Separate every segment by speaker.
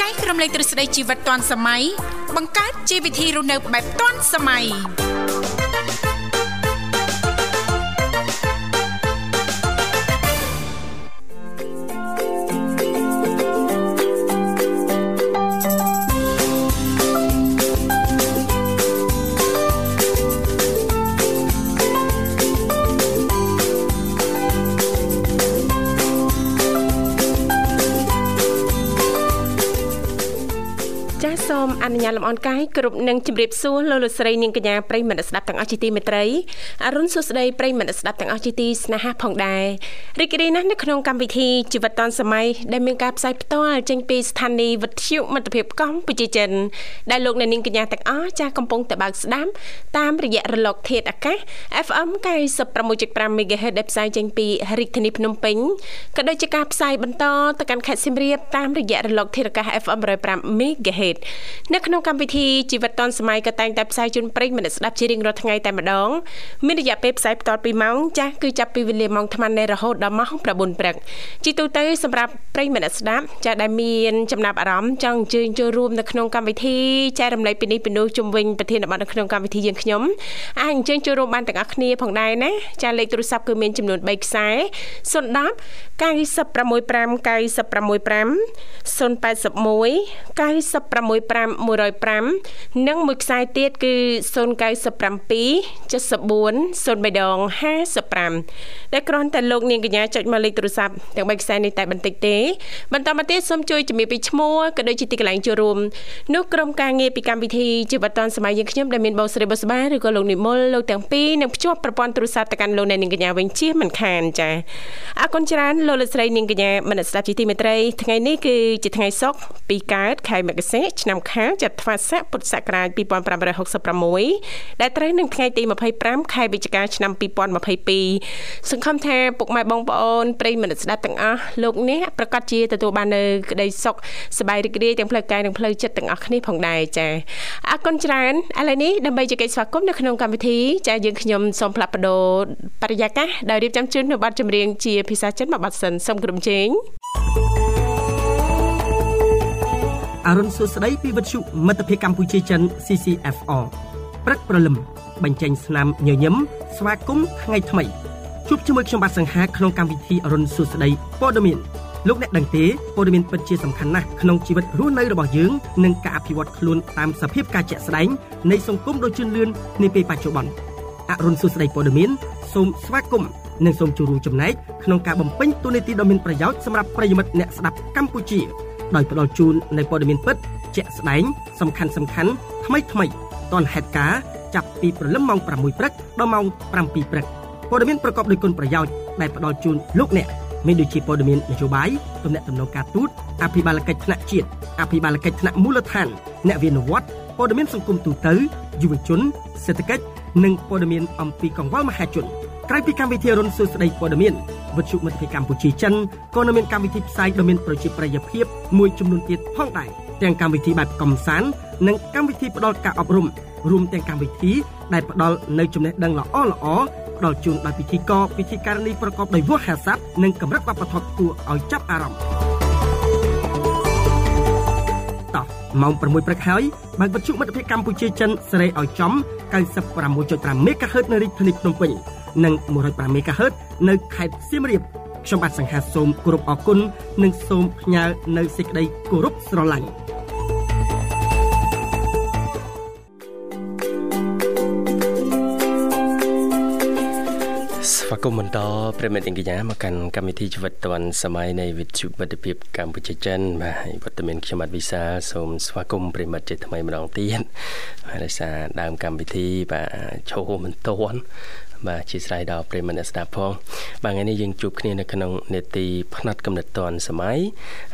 Speaker 1: លេងទ្រឹស្ដីជីវិតទាន់សម័យបង្កើតជីវវិធីរស់នៅបែបទាន់សម័យ
Speaker 2: ចាសសូមអនុញ្ញាតលំអរកាយគ្រប់នឹងជម្រាបសួរលោកលោកស្រីនាងកញ្ញាប្រិយមិត្តស្ដាប់ទាំងអស់ជាទីមេត្រីអរុនសួស្ដីប្រិយមិត្តស្ដាប់ទាំងអស់ជាទីស្នេហាផងដែររីករាយណាស់នៅក្នុងកម្មវិធីជីវិតឌុនសម័យដែលមានការផ្សាយផ្ទាល់ចេញពីស្ថានីយ៍វិទ្យុមិត្តភាពកម្ពុជាចិនដែលលោកអ្នកនាងកញ្ញាទាំងអស់ចាសកំពុងតែបើកស្ដាប់តាមរយៈរលកធាតុអាកាស FM 96.5 MHz ដែលផ្សាយចេញពីរាជធានីភ្នំពេញក៏ដូចជាការផ្សាយបន្តទៅកាន់ខេត្តសៀមរាបតាមរយៈរលកធាតុអាកាស FM 105 MHz នៅក្នុងកម្មវិធីជីវិតឌុនសម័យក៏តែងតែផ្សាយជូនប្រិយមិត្តស្ដាប់ជារៀងរាល់ថ្ងៃតែម្ដងមានរយៈពេលផ្សាយបន្តពីម៉ោងចាស់គឺចាប់ពីវេលាម៉ោង8:00នៃរហូតដល់ម៉ោង9:00ព្រឹកជីទូទៅសម្រាប់ប្រិយមិត្តស្ដាប់ចាស់ដែលមានចំណាប់អារម្មណ៍ចង់អញ្ជើញចូលរួមនៅក្នុងកម្មវិធីចែករំលែកពីនេះពីនោះជុំវិញប្រធានបទនៅក្នុងកម្មវិធីយើងខ្ញុំអាចអញ្ជើញចូលរួមបានទាំងអស់គ្នាផងដែរណាចាស់លេខទូរស័ព្ទគឺមានចំនួន3ខ្សែ010 965 965 081 965105និងមួយខ្សែទៀតគឺ097 74 0355ដែលគ្រាន់តែលោកនាងកញ្ញាចុចមកលេខទូរស័ព្ទទាំងបីខ្សែនេះតែបន្តិចទេបន្តមកទៀតសូមជួយជំរាបពីឈ្មោះក៏ដូចជាទីកន្លែងចូលរួមនោះក្រុមការងារពីកម្មវិធីជីវិតឌុនសម័យយើងខ្ញុំដែលមានបងស្រីបុស្បាឬក៏លោកនិមលលោកទាំងពីរនឹងភ្ជាប់ប្រព័ន្ធទូរស័ព្ទទៅកាន់លោកនាងកញ្ញាវិញជាមិនខានចា៎អរគុណច្រើនលោកលោកស្រីនាងកញ្ញាមនស្សស្ដាប់ជីទីមេត្រីថ្ងៃនេះគឺជាថ្ងៃសុក្រពីកើតខែមករា ឆ្នាំខាលចត្វាស័កពុទ្ធសករាជ2566ដែលត្រូវនឹងថ្ងៃទី25ខែវិច្ឆិកាឆ្នាំ2022សង្ឃឹមថាពុកម៉ែបងប្អូនប្រិយមិត្តស្ដាប់ទាំងអស់លោកអ្នកប្រកាសជាទទួលបាននៅក្តីសុខសប្បាយរីករាយទាំងផ្លូវកាយនិងផ្លូវចិត្តទាំងអស់គ្នាផងដែរចា៎អរគុណច្រើនឥឡូវនេះដើម្បីជែកស្វាគមន៍នៅក្នុងកម្មវិធីចា៎យើងខ្ញុំសូមផ្លាប់បដោបរិយាកាសដោយរៀបចំជូននៅប័ណ្ណចម្រៀងជាភាសាចិនមួយប័ណ្ណសិនសូមក្រុមជេង thank you
Speaker 3: អរុនសួស្ដីពីវិទ្យុមិត្តភាពកម្ពុជាចិន CCFR ព្រឹកព្រលឹមបញ្ចេញស្នាមញញឹមស្វាគមន៍ថ្ងៃថ្មីជួបជាមួយខ្ញុំបាទសង្ហាក្នុងកម្មវិធីអរុនសួស្ដីព័ត៌មានលោកអ្នកដឹងទេព័ត៌មានពិតជាសំខាន់ណាស់ក្នុងជីវិតរស់នៅរបស់យើងនិងការអភិវឌ្ឍខ្លួនតាមសភាពការជាក់ស្ដែងនៃសង្គមដ៏ជឿនលឿននាពេលបច្ចុប្បន្នអរុនសួស្ដីព័ត៌មានសូមស្វាគមន៍និងសូមចូលរួមចំណែកក្នុងការបំពេញតួនាទីដ៏មានប្រយោជន៍សម្រាប់ប្រិយមិត្តអ្នកស្ដាប់កម្ពុជាដោយផ្ដល់ជូននៅព័ត៌មានពិតជាក់ស្ដែងសំខាន់សំខាន់ថ្មីថ្មីតនហេតុការចាប់ពីព្រលឹមម៉ោង6ព្រឹកដល់ម៉ោង7ព្រឹកព័ត៌មានប្រកបដោយគុណប្រយោជន៍ដែលផ្ដល់ជូនលោកអ្នកមានដូចជាព័ត៌មាននយោបាយទំនាក់ទំនងការទូតអភិបាលកិច្ចថ្នាក់ជាតិអភិបាលកិច្ចថ្នាក់មូលដ្ឋានអ្នកវិនិយោគព័ត៌មានសង្គមទូទៅយុវជនសេដ្ឋកិច្ចនិងព័ត៌មានអំពីកង្វល់មហាជនក្រៅពីកម្មវិធីរុនសួស្ដីព័ត៌មានវិទ្យុមិត្តភាពកម្ពុជាចិនក៏នៅមានកម្មវិធីផ្សាយដ៏មានប្រជាប្រិយភាពមួយចំនួនទៀតផងដែរទាំងកម្មវិធីបែបកំសាន្តនិងកម្មវិធីផ្ដល់ការអប់រំរួមទាំងកម្មវិធីដែលផ្ដល់នៅចំណេះដឹងល្អល្អផ្ដល់ជូនដល់ពិធីករពិធីការនីប្រកបដោយវោហារស័ព្ទនិងកម្រិតវប្បធម៌គួរឲ្យចាប់អារម្មណ៍តោះម៉ោង6ព្រឹកហើយបើកវិទ្យុមិត្តភាពកម្ពុជាចិនសេរីឲ្យចំ96.5 MHz នៅរាជធានីភ្នំពេញនិង105 MHz នៅខេត្តសៀមរាបខ្ញុំបាទសង្ហាសូមគោរពអរគុណនិងសូមផ្ញើនៅសេចក្តីគោរពស្រឡាញ់
Speaker 4: ស្វាគមន៍បន្តប្រិមិត្តអង្គការមកកាន់កម្មវិធីជីវិតឌွန်សម័យនៃវិទ្យុមិត្តភាពកម្ពុជាចិនបាទវត្តមានខ្ញុំបាទវិសាលសូមស្វាគមន៍ប្រិមិត្តជាថ្មីម្ដងទៀតហើយដោយសារដើមកម្មវិធីបាទឈោមិនតន់បាទអធិស្ឋានដល់ប្រិមត្តអ្នកស្ដាប់ផងបាទថ្ងៃនេះយើងជួបគ្នានៅក្នុងនេតិផ្នែកកំណត់តនសម័យ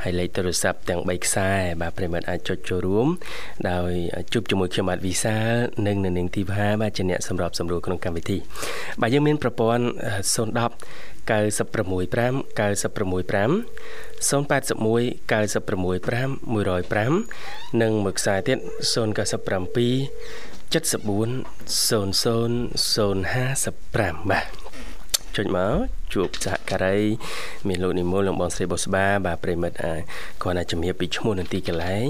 Speaker 4: ហើយលេខទូរស័ព្ទទាំង3ខ្សែបាទប្រិមត្តអាចចុចចូលរួមដោយជួបជាមួយខ្ញុំបាទវិសាលនិងនៅនាងទីវ៉ាបាទជាអ្នកសម្របសម្រួលក្នុងកម្មវិធី បាទយើងមានប្រព័ន្ធ010 965 965 081 965 105និងមួយខ្សែទៀត097 74 00 055បាទ ចុចមកជួបសហការីមានលោកនិមលនិងបងស្រីបុស្បាបាទប្រិមិត្តអាចគ្រាន់តែជំរាបពីឈ្មោះនិងទីកន្លែង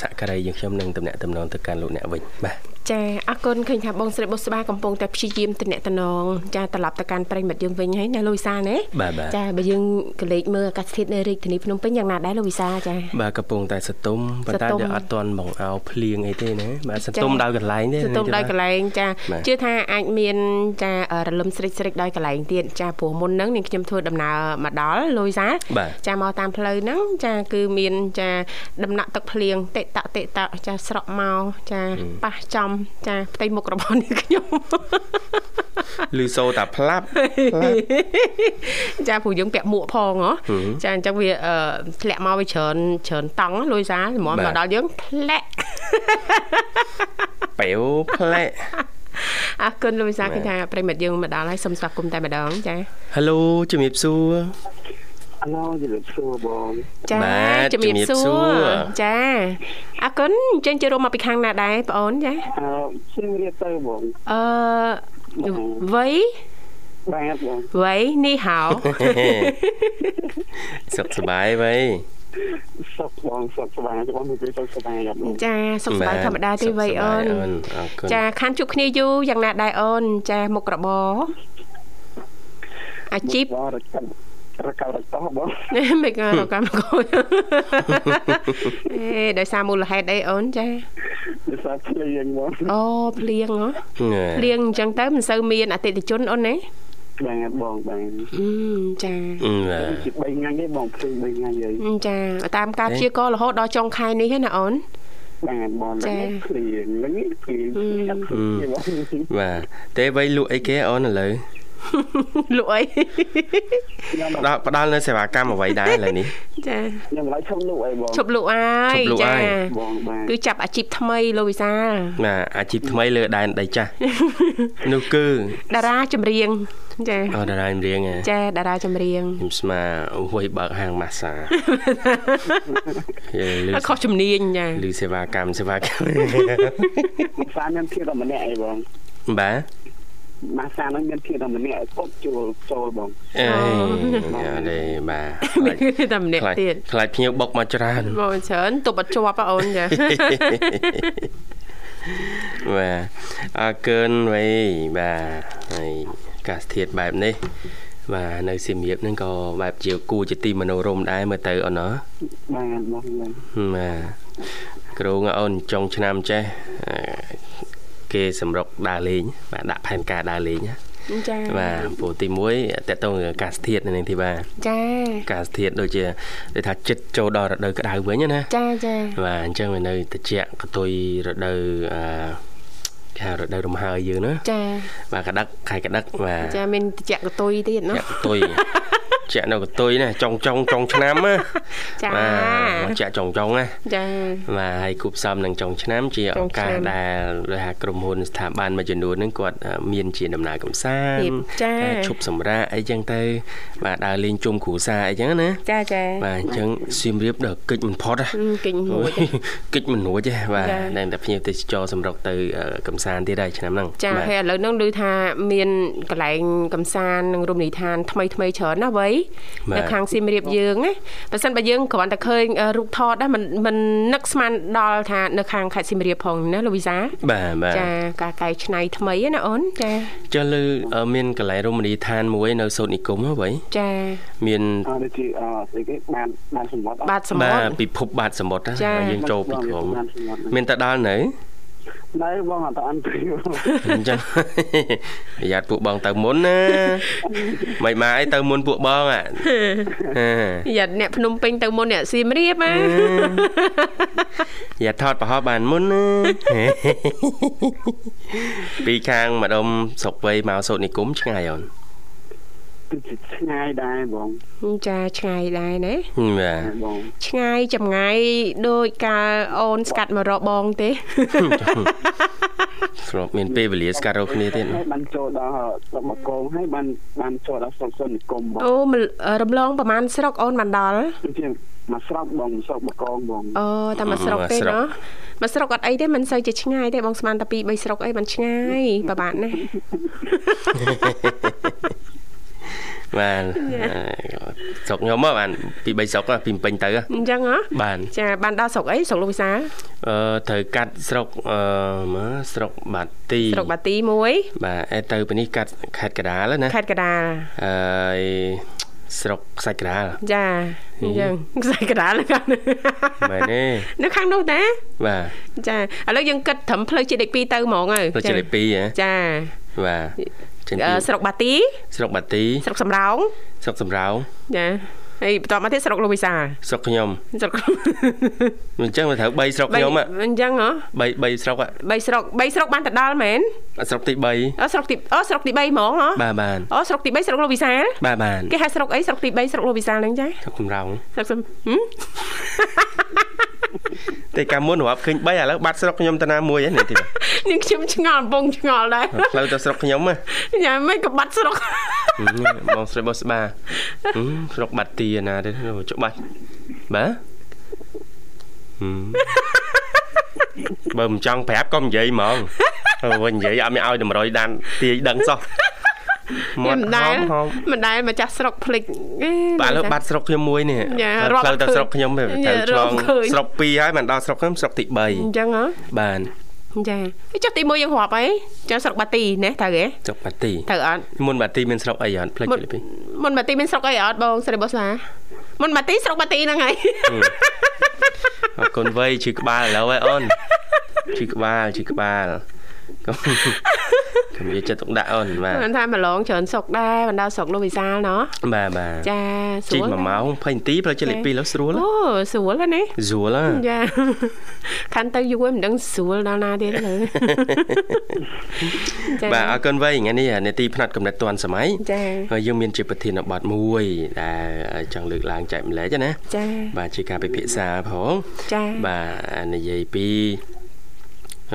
Speaker 4: សហការីយើងខ្ញុំនឹងតំណាក់តំណងទៅកាន់លោកអ្នកវិញបាទ
Speaker 2: ចាអរគុណឃើញថាបងស្រីបុស្បាកំពុងតែព្យាយាមតំណែងតំណងចាត្រឡប់ទៅកាន់ប្រិមិត្តយើងវិញហើយណាលោកវិសាលណា
Speaker 4: បាទបាទ
Speaker 2: ចាបើយើងកលេចមើលអាកាសធាតុនៅរាជធានីភ្នំពេញយ៉ាងណាដែរលោកវិសាលចា
Speaker 4: បាទកំពុងតែសន្ទុំប៉ុន្តែ
Speaker 2: សន្ទុំ
Speaker 4: យើងអត់ទាន់មកអោភ្លៀងអីទេណាបាទសន្ទុំដល់កន្លែងទេ
Speaker 2: ទៅទុំដោយកន្លែងចា
Speaker 4: បាទ
Speaker 2: ជឿថាអាចមានចារលឹមស្រិចស្រិចដោយកន្លែងទៀតចាព្រោះមុនហ្នឹងនាងខ្ញុំធ្វើដំណើរមកដល់លយសា
Speaker 4: បាទ
Speaker 2: ចាមកតាមផ្លូវហ្នឹងចាគឺមានចាដំណាក់ទឹកភ្លៀងតិតៈតិតៈចាស្រក់មកចាប៉ះចំចាផ្ទៃមុខរបស់នាងខ្ញុំ
Speaker 4: ឮសូរតែផ្លាប់
Speaker 2: ចាព្រោះយើងពាក់មួកផងហ៎ចាអញ្ចឹងវាអឺធ្លាក់មកវាច្រើនច្រើនតង់លយសាល្មម
Speaker 4: បាទ
Speaker 2: មកដល់យើងធ្លាក់
Speaker 4: បែវផ្លែក
Speaker 2: អរគុណលោកវិសាល
Speaker 4: បាទ
Speaker 2: ឃើញថាប្រិមិត្តយើងមកដល់ហើយសូមស្វាគមន៍តែម្ដងចា
Speaker 4: Halo ជំរាបសួរ
Speaker 5: អាឡូជំរាបសួរបង
Speaker 2: ចា
Speaker 4: បាទ
Speaker 2: ជំរាប
Speaker 4: ជំរាប
Speaker 2: សួ
Speaker 4: សួ
Speaker 2: រ
Speaker 4: រ
Speaker 2: ចាអរគុណអញ្ចឹងជិះរួមមកពីខាងណាដែរបងអូនចា
Speaker 5: អឺជឿរៀបទៅបង
Speaker 2: អឺវ័យ
Speaker 5: បាទបង
Speaker 2: វ័យនេះហៅ
Speaker 4: សុខសប្បាយវ៉ៃ
Speaker 5: សុខបងសុខសប្បាយបងនិយាយសុខសប្បាយអត់បង
Speaker 2: ចាសុខសប្បាយ
Speaker 4: បាទ
Speaker 2: ធម្មតាទេ
Speaker 4: សុខ
Speaker 2: វ័យ
Speaker 4: សប្បា
Speaker 2: អូន
Speaker 4: យអូនអរគុណ
Speaker 2: ចាខានជួបគ្នាយូរយ៉ាងណាដែរអូនចាមុខរបរអាជីព
Speaker 5: បងរកកម្មរកកម្មរកតោះបង
Speaker 2: មិនក៏រកកម្មកូន អេដោយសារមូលហេតុអីអូនចា
Speaker 5: វាសាភ្លៀងបង
Speaker 2: អូភ្លៀងហ៎ភ្លៀងអញ្ចឹងទៅមិនសូវមានអតិថិជនអូនណា
Speaker 5: បាទបងបាទ
Speaker 2: អឺចា
Speaker 4: អឺបាទ
Speaker 5: ពី3ថ្ងៃទេបងភ្លឺ3ថ្ងៃហើយ
Speaker 2: អឺចាតាមការ
Speaker 4: ទេ
Speaker 2: ព្យាករណ៍រហូតដល់ចុងខែនេះហ្នឹងណាអូន
Speaker 5: បាទបង
Speaker 2: ចា
Speaker 5: ឡើងភ្លៀងឡើងភ្លៀងអត់ភ្លៀងបង
Speaker 4: បាទទេវ៉ៃលក់អីគេអូនឥឡូវ
Speaker 2: លក់អី
Speaker 5: ខ្ញុំ
Speaker 4: ផ្ដល់ផ្ដល់នៅសេវាកម្មអ្វីដែរឥឡូវនេះ
Speaker 2: ចា
Speaker 5: ខ្ញុំឡើយឈប់លក់អីបង
Speaker 2: ឈប់លក់ហើយ
Speaker 4: ឈប់លក់
Speaker 2: ចា
Speaker 4: ហើយ
Speaker 5: បងបាទ
Speaker 2: គឺចាប់អាជីពថ្មីលោកវិសាល
Speaker 4: បាទអាជីពថ្មីលើដែនដី ចាស់នោះគឺ
Speaker 2: តារាចម្រៀងចា
Speaker 4: អត់ដែររៀងហ៎
Speaker 2: ចាតារាចម្រៀង
Speaker 4: ខ្ញុំស្មាវ៉ៃបើកហាងម៉ា សាយេលឺ
Speaker 2: អត់ខុសជំនាញចា
Speaker 4: លឺសេវាកម្មសេវាកម្ម
Speaker 5: ម៉ាសាមានធៀបតែម្នាក់អីបង
Speaker 4: បាទ
Speaker 5: ម៉ាសាហ្នឹងមានធៀបតែម្នាក់គប់ជួលចូលបង
Speaker 4: អេយ៉ាទេបាទ
Speaker 2: មានគឺតែម្នាក់
Speaker 4: ខ្លាច
Speaker 2: ទៀត
Speaker 4: ខ្លាចភ្ញៀវបុកមកច្រើន
Speaker 2: បងច្រើនទប់អត់ជាប់ហ៎អូនចា
Speaker 4: បាទអរគុណវ៉េបាទហើយកាសធាតបែបនេះ បាទនៅសៀមរាបហ្នឹងក៏បែបជាគូជាទីមនោរម្យដែរមើលទៅអូនណោះ
Speaker 5: បាទបងបង
Speaker 4: បាទគ្រូងអូនចុងឆ្នាំចេះអឺគេសម្រុកដើរលេងបាទដាក់ផែនការដើរលេងណា
Speaker 2: ចា
Speaker 4: បាទព្រោះទី1តកតងនឹងអាកាសធាតនៅនេះទីបាទ
Speaker 2: ចា
Speaker 4: អាកាសធាតុដូចជាដូចថាចិត្តចូលដល់រដូវក្តៅវិញណា
Speaker 2: ចាចា
Speaker 4: បាទអញ្ចឹងវានៅត្រជាក់កតុយរដូវអឺថារដូវរំហើយយើងណា
Speaker 2: ចា
Speaker 4: បាទកដឹកខែកដឹកបាទ
Speaker 2: ចាមានតិចកតុយទៀតណោះ
Speaker 4: ជាក់កតុយ ជាក់នៅកតុយណាចុងចុងចុងឆ្នាំណា
Speaker 2: ចា
Speaker 4: បាទជាក់ចុងចុងណា
Speaker 2: ចា
Speaker 4: បាទហើយគូផ្សំនឹងចុងឆ្នាំ ជា
Speaker 2: ចុ
Speaker 4: ឱ
Speaker 2: ង
Speaker 4: កាស
Speaker 2: ឆ្នាំ
Speaker 4: ដែលដោយថាក្រុមហ៊ុនស្ថាប័នមួយចំនួនហ្នឹងគាត់អឺមានជាដំណើរកំសាន្ត
Speaker 2: ទៀតចា
Speaker 4: ការឈប់សម្រាកអីចឹងទៅ បាទដើរលេងជុំគ្រួសារអីចឹងណា
Speaker 2: ចាចា
Speaker 4: បាទអញ្ចឹងសៀមរាបដល់កិច្ចមិនផុតហ៎
Speaker 2: អឺគេញមួយ
Speaker 4: កិច្ចមិនរួចទេបាទ
Speaker 2: ចា៎
Speaker 4: តែតែភ្ញៀវទេសចរសម្រុកទៅអឺកំសាន្តទៀតដែរឆ្នាំហ្នឹង
Speaker 2: ចា
Speaker 4: បាទ
Speaker 2: ហើយឥឡូវហ្នឹងឮថាមានកន្លែងកំសាន្តនិងរមណីយដ្ឋានថ្មីថ្មីច្រើនណាស់វ៉ៃនៅខាងសៀមរាបយើងណាបើសិនបើយើងគ្រាន់តែឃើញអឺរូបថតដែរมันมันនឹកស្មានដល់ថានៅខាងខេត្តសៀមរាបផងណាលូវីសា
Speaker 4: បាទបាទ
Speaker 2: ចាការកែច្នៃថ្មីហ្នឹងណាអូនចា
Speaker 4: ចុះលើអឺមានកន្លែងរមណីយដ្ឋានមួយនៅសូត្រនិគមហ៎បង
Speaker 2: ចា
Speaker 4: មាន
Speaker 5: អត់ដូចជាអត់ស្អីគេបានបានសម្បត្តិអត់
Speaker 2: បាទសមុ
Speaker 4: បាទ
Speaker 2: ទ្រ
Speaker 4: ពិភពបាទសមុទ្រ
Speaker 2: ចា៎
Speaker 4: ណាយើងចូលពិភព
Speaker 5: បានសម្បត្តិ
Speaker 4: មានតែដល់ នៅ
Speaker 5: នៅបងអត់អានព្រាវ
Speaker 4: អញ្ចឹង ប្រយ័ត្នពួកបងទៅមុន ណាមិនមកអីទៅមុនពួកបងអាហ៎
Speaker 2: យ៉ាអ្នកភ្នំពេញទៅមុនអ្នកសៀមរាបណា
Speaker 4: យ៉ាថតប្រហោះបានមុនណា ពីខាងម្ដុំស្រុកវៃមកសូត្រនិគមឆ្ងាយអូន
Speaker 5: គឺជាឆ្ងាយដែរបង
Speaker 2: ចាឆ្ងាយដែរណា
Speaker 4: បា
Speaker 5: បង
Speaker 2: ឆ្ងាយចម្ងាយដោយកាលអូនស្កាត់មករកបងទេ
Speaker 4: ទស្រាប់មានពេលវេលាស្កាត់រកគ្នាទៀត
Speaker 5: ហើយបានចូលដល់ស្រុកមកកងហើយបានបានចូលដល់ស្រុកសុននិគមបង
Speaker 2: អូ មិនរំលងប្រហែលស្រុកអូនបានដល់
Speaker 5: គឺជាមកស្រុកបងស្រុកមកកងបង
Speaker 2: អូតែមួយស្រុកទេណោះមួយស្រុកអត់អីទេមិនសូវជាឆ្ងាយទេបងស្មានតែ2 3ស្រុកអីមិនឆ្ងាយប្រហែលណា
Speaker 4: បាទស្រុកខ្ញុំហ៎បានពី3ស្រុកហ៎ពីពេញទៅហ៎
Speaker 2: អញ្ចឹងហ៎
Speaker 4: បាទ
Speaker 2: ចាបានដល់ស្រុកអីស្រុកលោកវិសាល
Speaker 4: អឺត្រូវកាត់ស្រុកអឺមើលស្រុកបាទី
Speaker 2: ស្រុកបាទីមួយ
Speaker 4: បាទឯទៅពីនេះកាត់ខេត្តកណ្ដាលហ៎ណា
Speaker 2: ខេត្តកណ្ដាល
Speaker 4: ហើយស្រុកខ្សាច់កណ្ដាល
Speaker 2: ចាអញ្ចឹង ខ្សែកណ្ដាលនៅខាងនោះ
Speaker 4: មែនទេ
Speaker 2: នៅខាងនោះតា
Speaker 4: បាទ
Speaker 2: ចាឥឡូវយើងគិតត្រឹមផ្លូវជាតិលេខ2ទៅហ្មងហើយ
Speaker 4: ប្រជិលទី2ហ៎
Speaker 2: ចា
Speaker 4: បាទចេញ
Speaker 2: អឺ
Speaker 4: ពី
Speaker 2: ស្រុកបាទី
Speaker 4: ស្រុកបាទី
Speaker 2: ស្រុកសំរោង
Speaker 4: ស្រុកសំរោង
Speaker 2: ចាហើយបន្តមកទៀតស្រុកលោកវិសាល
Speaker 4: ស្រុក ខ្ញុំ
Speaker 2: ស្រុក
Speaker 4: អញ្ចឹងវាត្រូវ3ស្រុកខ្ញុំហ៎
Speaker 2: អញ្ចឹងហ៎
Speaker 4: 3 3ស្រុកហ៎
Speaker 2: បីស្រុកបីស្រុកបានទៅដល់មែន
Speaker 4: ស្រុកទី3
Speaker 2: អូស្រុកទីអូស្រុកទី3ហ្មងហ៎
Speaker 4: បាទបាន
Speaker 2: អូស្រុកទី3ស្រុកលោកវិសាល
Speaker 4: បាទបាន
Speaker 2: គេហៅស្រុកអីស្រុកទី3ស្រុកលោកវិសាលហ្នឹងចា
Speaker 4: ស្រុកសំរោង
Speaker 2: ស្រុកសំហឹម
Speaker 4: តែកាលមុនរាប់ឃើញ3ឥឡូវបាត់ស្រុកខ្ញុំទៅណាមួយហ្នឹងនេះទៀត
Speaker 2: នាងខ្ញុំឆ្ងល់កំពុងឆ្ងល់ដែរ
Speaker 4: ផ្លូវទៅស្រុកខ្ញុំហ៎
Speaker 2: ញ៉ាំមិនក៏បាត់ស្រុក
Speaker 4: បងស្រីបោះស្បាហ៊ឹមស្រុកបាត់ទីណាទេច្បាស់បាទហ៊ឹមបើមិនចង់ប្រាប់ក៏និយាយហ្មងអូយនិយាយអត់មានឲ្យតម្រុយដានទាយដឹងសោះ មាត់ហោមហោម
Speaker 2: មិនដែលម្ចាស់ស្រុកភ្លេចអេ
Speaker 4: បាទឥឡូវបាត់ស្រុកខ្ញុំមួយនេះ
Speaker 2: យ៉ារាប់
Speaker 4: ផ្លូវទៅ
Speaker 2: ឃើញ
Speaker 4: ស្រុកខ្ញុំទៅ
Speaker 2: យ៉ា
Speaker 4: ឆ្ល
Speaker 2: រាប់
Speaker 4: ង
Speaker 2: ឃើញ
Speaker 4: ស្រុក2ហើយបានដល់ស្រុកខ្ញុំស្រុកទី
Speaker 2: អញ្ចឹងហ៎
Speaker 4: 3បាន
Speaker 2: ចាចុះទី1យើងរាប់អីចាំស្រុកបាទីណាត្រូវទេ
Speaker 4: ស្រុកបាត់ទី
Speaker 2: ត្រូវអត់
Speaker 4: មុនបាត់ទីមានស្រុកអីអត់ផ្លេច
Speaker 2: មុន
Speaker 4: ទៅពី
Speaker 2: មុនបាទីមានស្រុកអីអត់បងស្រីបុស្សាមុនបាទីស្រុកបាទីហ្នឹងហើយ
Speaker 4: អរគុណវ័យជិះក្បាលឥឡូវហើយអូនជិះក្បាលជិះក្បាលកុំកុំយកចិត្តទុកដាក់អូនបាទ
Speaker 2: មិនថាប្រឡងច្រើនស្រុកដែរបណ្ដាស្រុកលោកវិសាលណោះ
Speaker 4: បាទបាទ
Speaker 2: ចាស្រួ
Speaker 4: ជី
Speaker 2: ល
Speaker 4: ក1ម៉ោង20នាទីផ្លូវចិត្តលេខ2ឥឡូវស្រួលហ៎
Speaker 2: អូស្រួលហើយនេះ
Speaker 4: ស្រួលហ៎
Speaker 2: ចា ខាន់ទៅយូរហើយមិនដឹងស្រួលដល់ណា ទៀតទេ
Speaker 4: បាទអរគុណវៃថ្ងៃនេះនេតិផ្នែកកំណត់ទាន់សម័យ
Speaker 2: ចា
Speaker 4: ហើយយើងមានជាប្រធានបទមួយដែលចង់លើកឡើងចែកម្លែកណា
Speaker 2: ចា
Speaker 4: បាទជាការពិភាក្សាផង
Speaker 2: ចា៎
Speaker 4: បាទនិយាយពី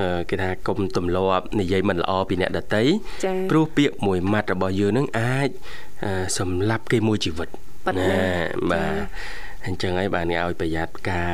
Speaker 4: អឺគេថាគុំទម្លាប់និយាយមិនល្អពីអ្នកដតី
Speaker 2: ចា៎
Speaker 4: ព្រោះពាក្យមួយម៉ាត់របស់យើងនឹងអាចអឺសម្លាប់គេមួយជីវិត
Speaker 2: ពិតណាស់
Speaker 4: បាទអញ្ចឹងហើយបាទនេះឲ្យប្រយ័ត្នការ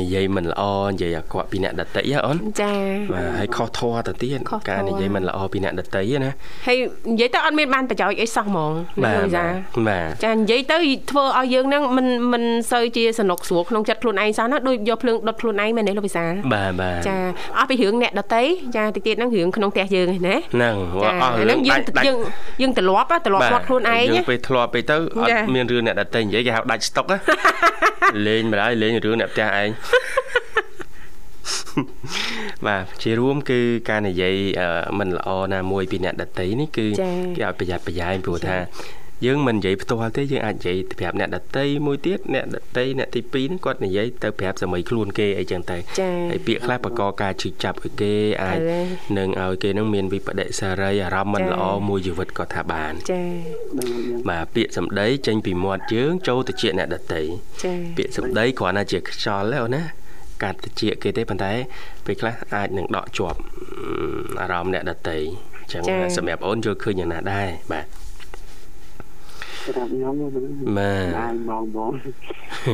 Speaker 4: និយាយមិនល្អនិយាយអាក្រក់ពីអ្នកដតីហ៎អូន
Speaker 2: ចា
Speaker 4: បាទហើយខុសធម៌ទៅទៀត
Speaker 2: ខុសធម៌
Speaker 4: ការនិយាយមិនល្អពីអ្នកដតីណា
Speaker 2: ហើយនិយាយទៅអត់មានបានប្រយោជន៍អីសោះហ្មងនៅលោក
Speaker 4: បា
Speaker 2: ចា
Speaker 4: ទបាទ
Speaker 2: ចានិយាយទៅធ្វើឲ្យយើងហ្នឹងមិនមិនសូវជាសំណុកស្រួលក្នុងចិត្តខ្លួនឯងសោះណាដូចយកភ្លើងដុតខ្លួនឯងមែនទេលោកវិសាល
Speaker 4: បាទបាទ
Speaker 2: ចាអស់ពីរឿងអ្នកដតីចាតិចទៀតហ្នឹងរឿងក្នុងផ្ទះយើងឯណា
Speaker 4: ហ្នឹង
Speaker 2: ចា
Speaker 4: អស់
Speaker 2: អា
Speaker 4: រឿង
Speaker 2: យើង
Speaker 4: ដាច់ដាច់
Speaker 2: យើងយើងទលាប់ណាទលាប់គា
Speaker 4: បាទ
Speaker 2: ត់ខ្លួនឯង
Speaker 4: យើ
Speaker 2: ណា
Speaker 4: ងពេលធ្លាប់ពេលទៅអ
Speaker 2: ចា
Speaker 4: ត់មានរឿងអ្នកដតីនិយាយគេហៅដាច់ស្តុក ណា លេងម្ល៉េះលេងរឿងអ្នកផ្ទះឯង បាទជារួមគឺការនិយាយអឺមិនល្អណាមួយពីអ្នកដតីនេះគឺ
Speaker 2: ចា៎
Speaker 4: គេឲ្យប្រយ័ត្នប្រយែងព្រោះថាយើងមិននិយាយផ្ទាល់ទេយើងអាចនិយាយទៅប្រាប់អ្នកដតីមួយទៀតអ្នកដតីអ្នកទី2ហ្នឹងគាត់និយាយទៅប្រាប់សមីខ្លួនគេអីចឹងទៅ
Speaker 2: ចា៎
Speaker 4: ហើយពាក្យខ្លះបកកការជិះចាប់ឲ្យគេអាច
Speaker 2: ហើយ
Speaker 4: នឹងឲ្យគេនឹងមានវិបដិសារីអារម្មណ៍មិន
Speaker 2: ចា៎
Speaker 4: ល្អមួយជីវិតគាត់ថាបាន
Speaker 2: ចា
Speaker 4: បាទពាក្យសម្ដីចេញពីមាត់យើងចូលទៅជាអ្នកដតី
Speaker 2: ចា
Speaker 4: ពាក្យសម្ដីគ្រាន់តែជាខ្យល់ទេអូនណាកាត់ទៅជាគេទេប៉ុន្តែពេលខ្លះអាចនឹងដកជាប់អឺអារម្មណ៍អ្នកដតីអញ្ចឹងសម្រាប់អូនយល់ឃើញយ៉ាងណាដែរបាទ
Speaker 6: សម្រាប់ខ្ញុំហ្នឹង
Speaker 4: ម៉ា
Speaker 6: បានមកមក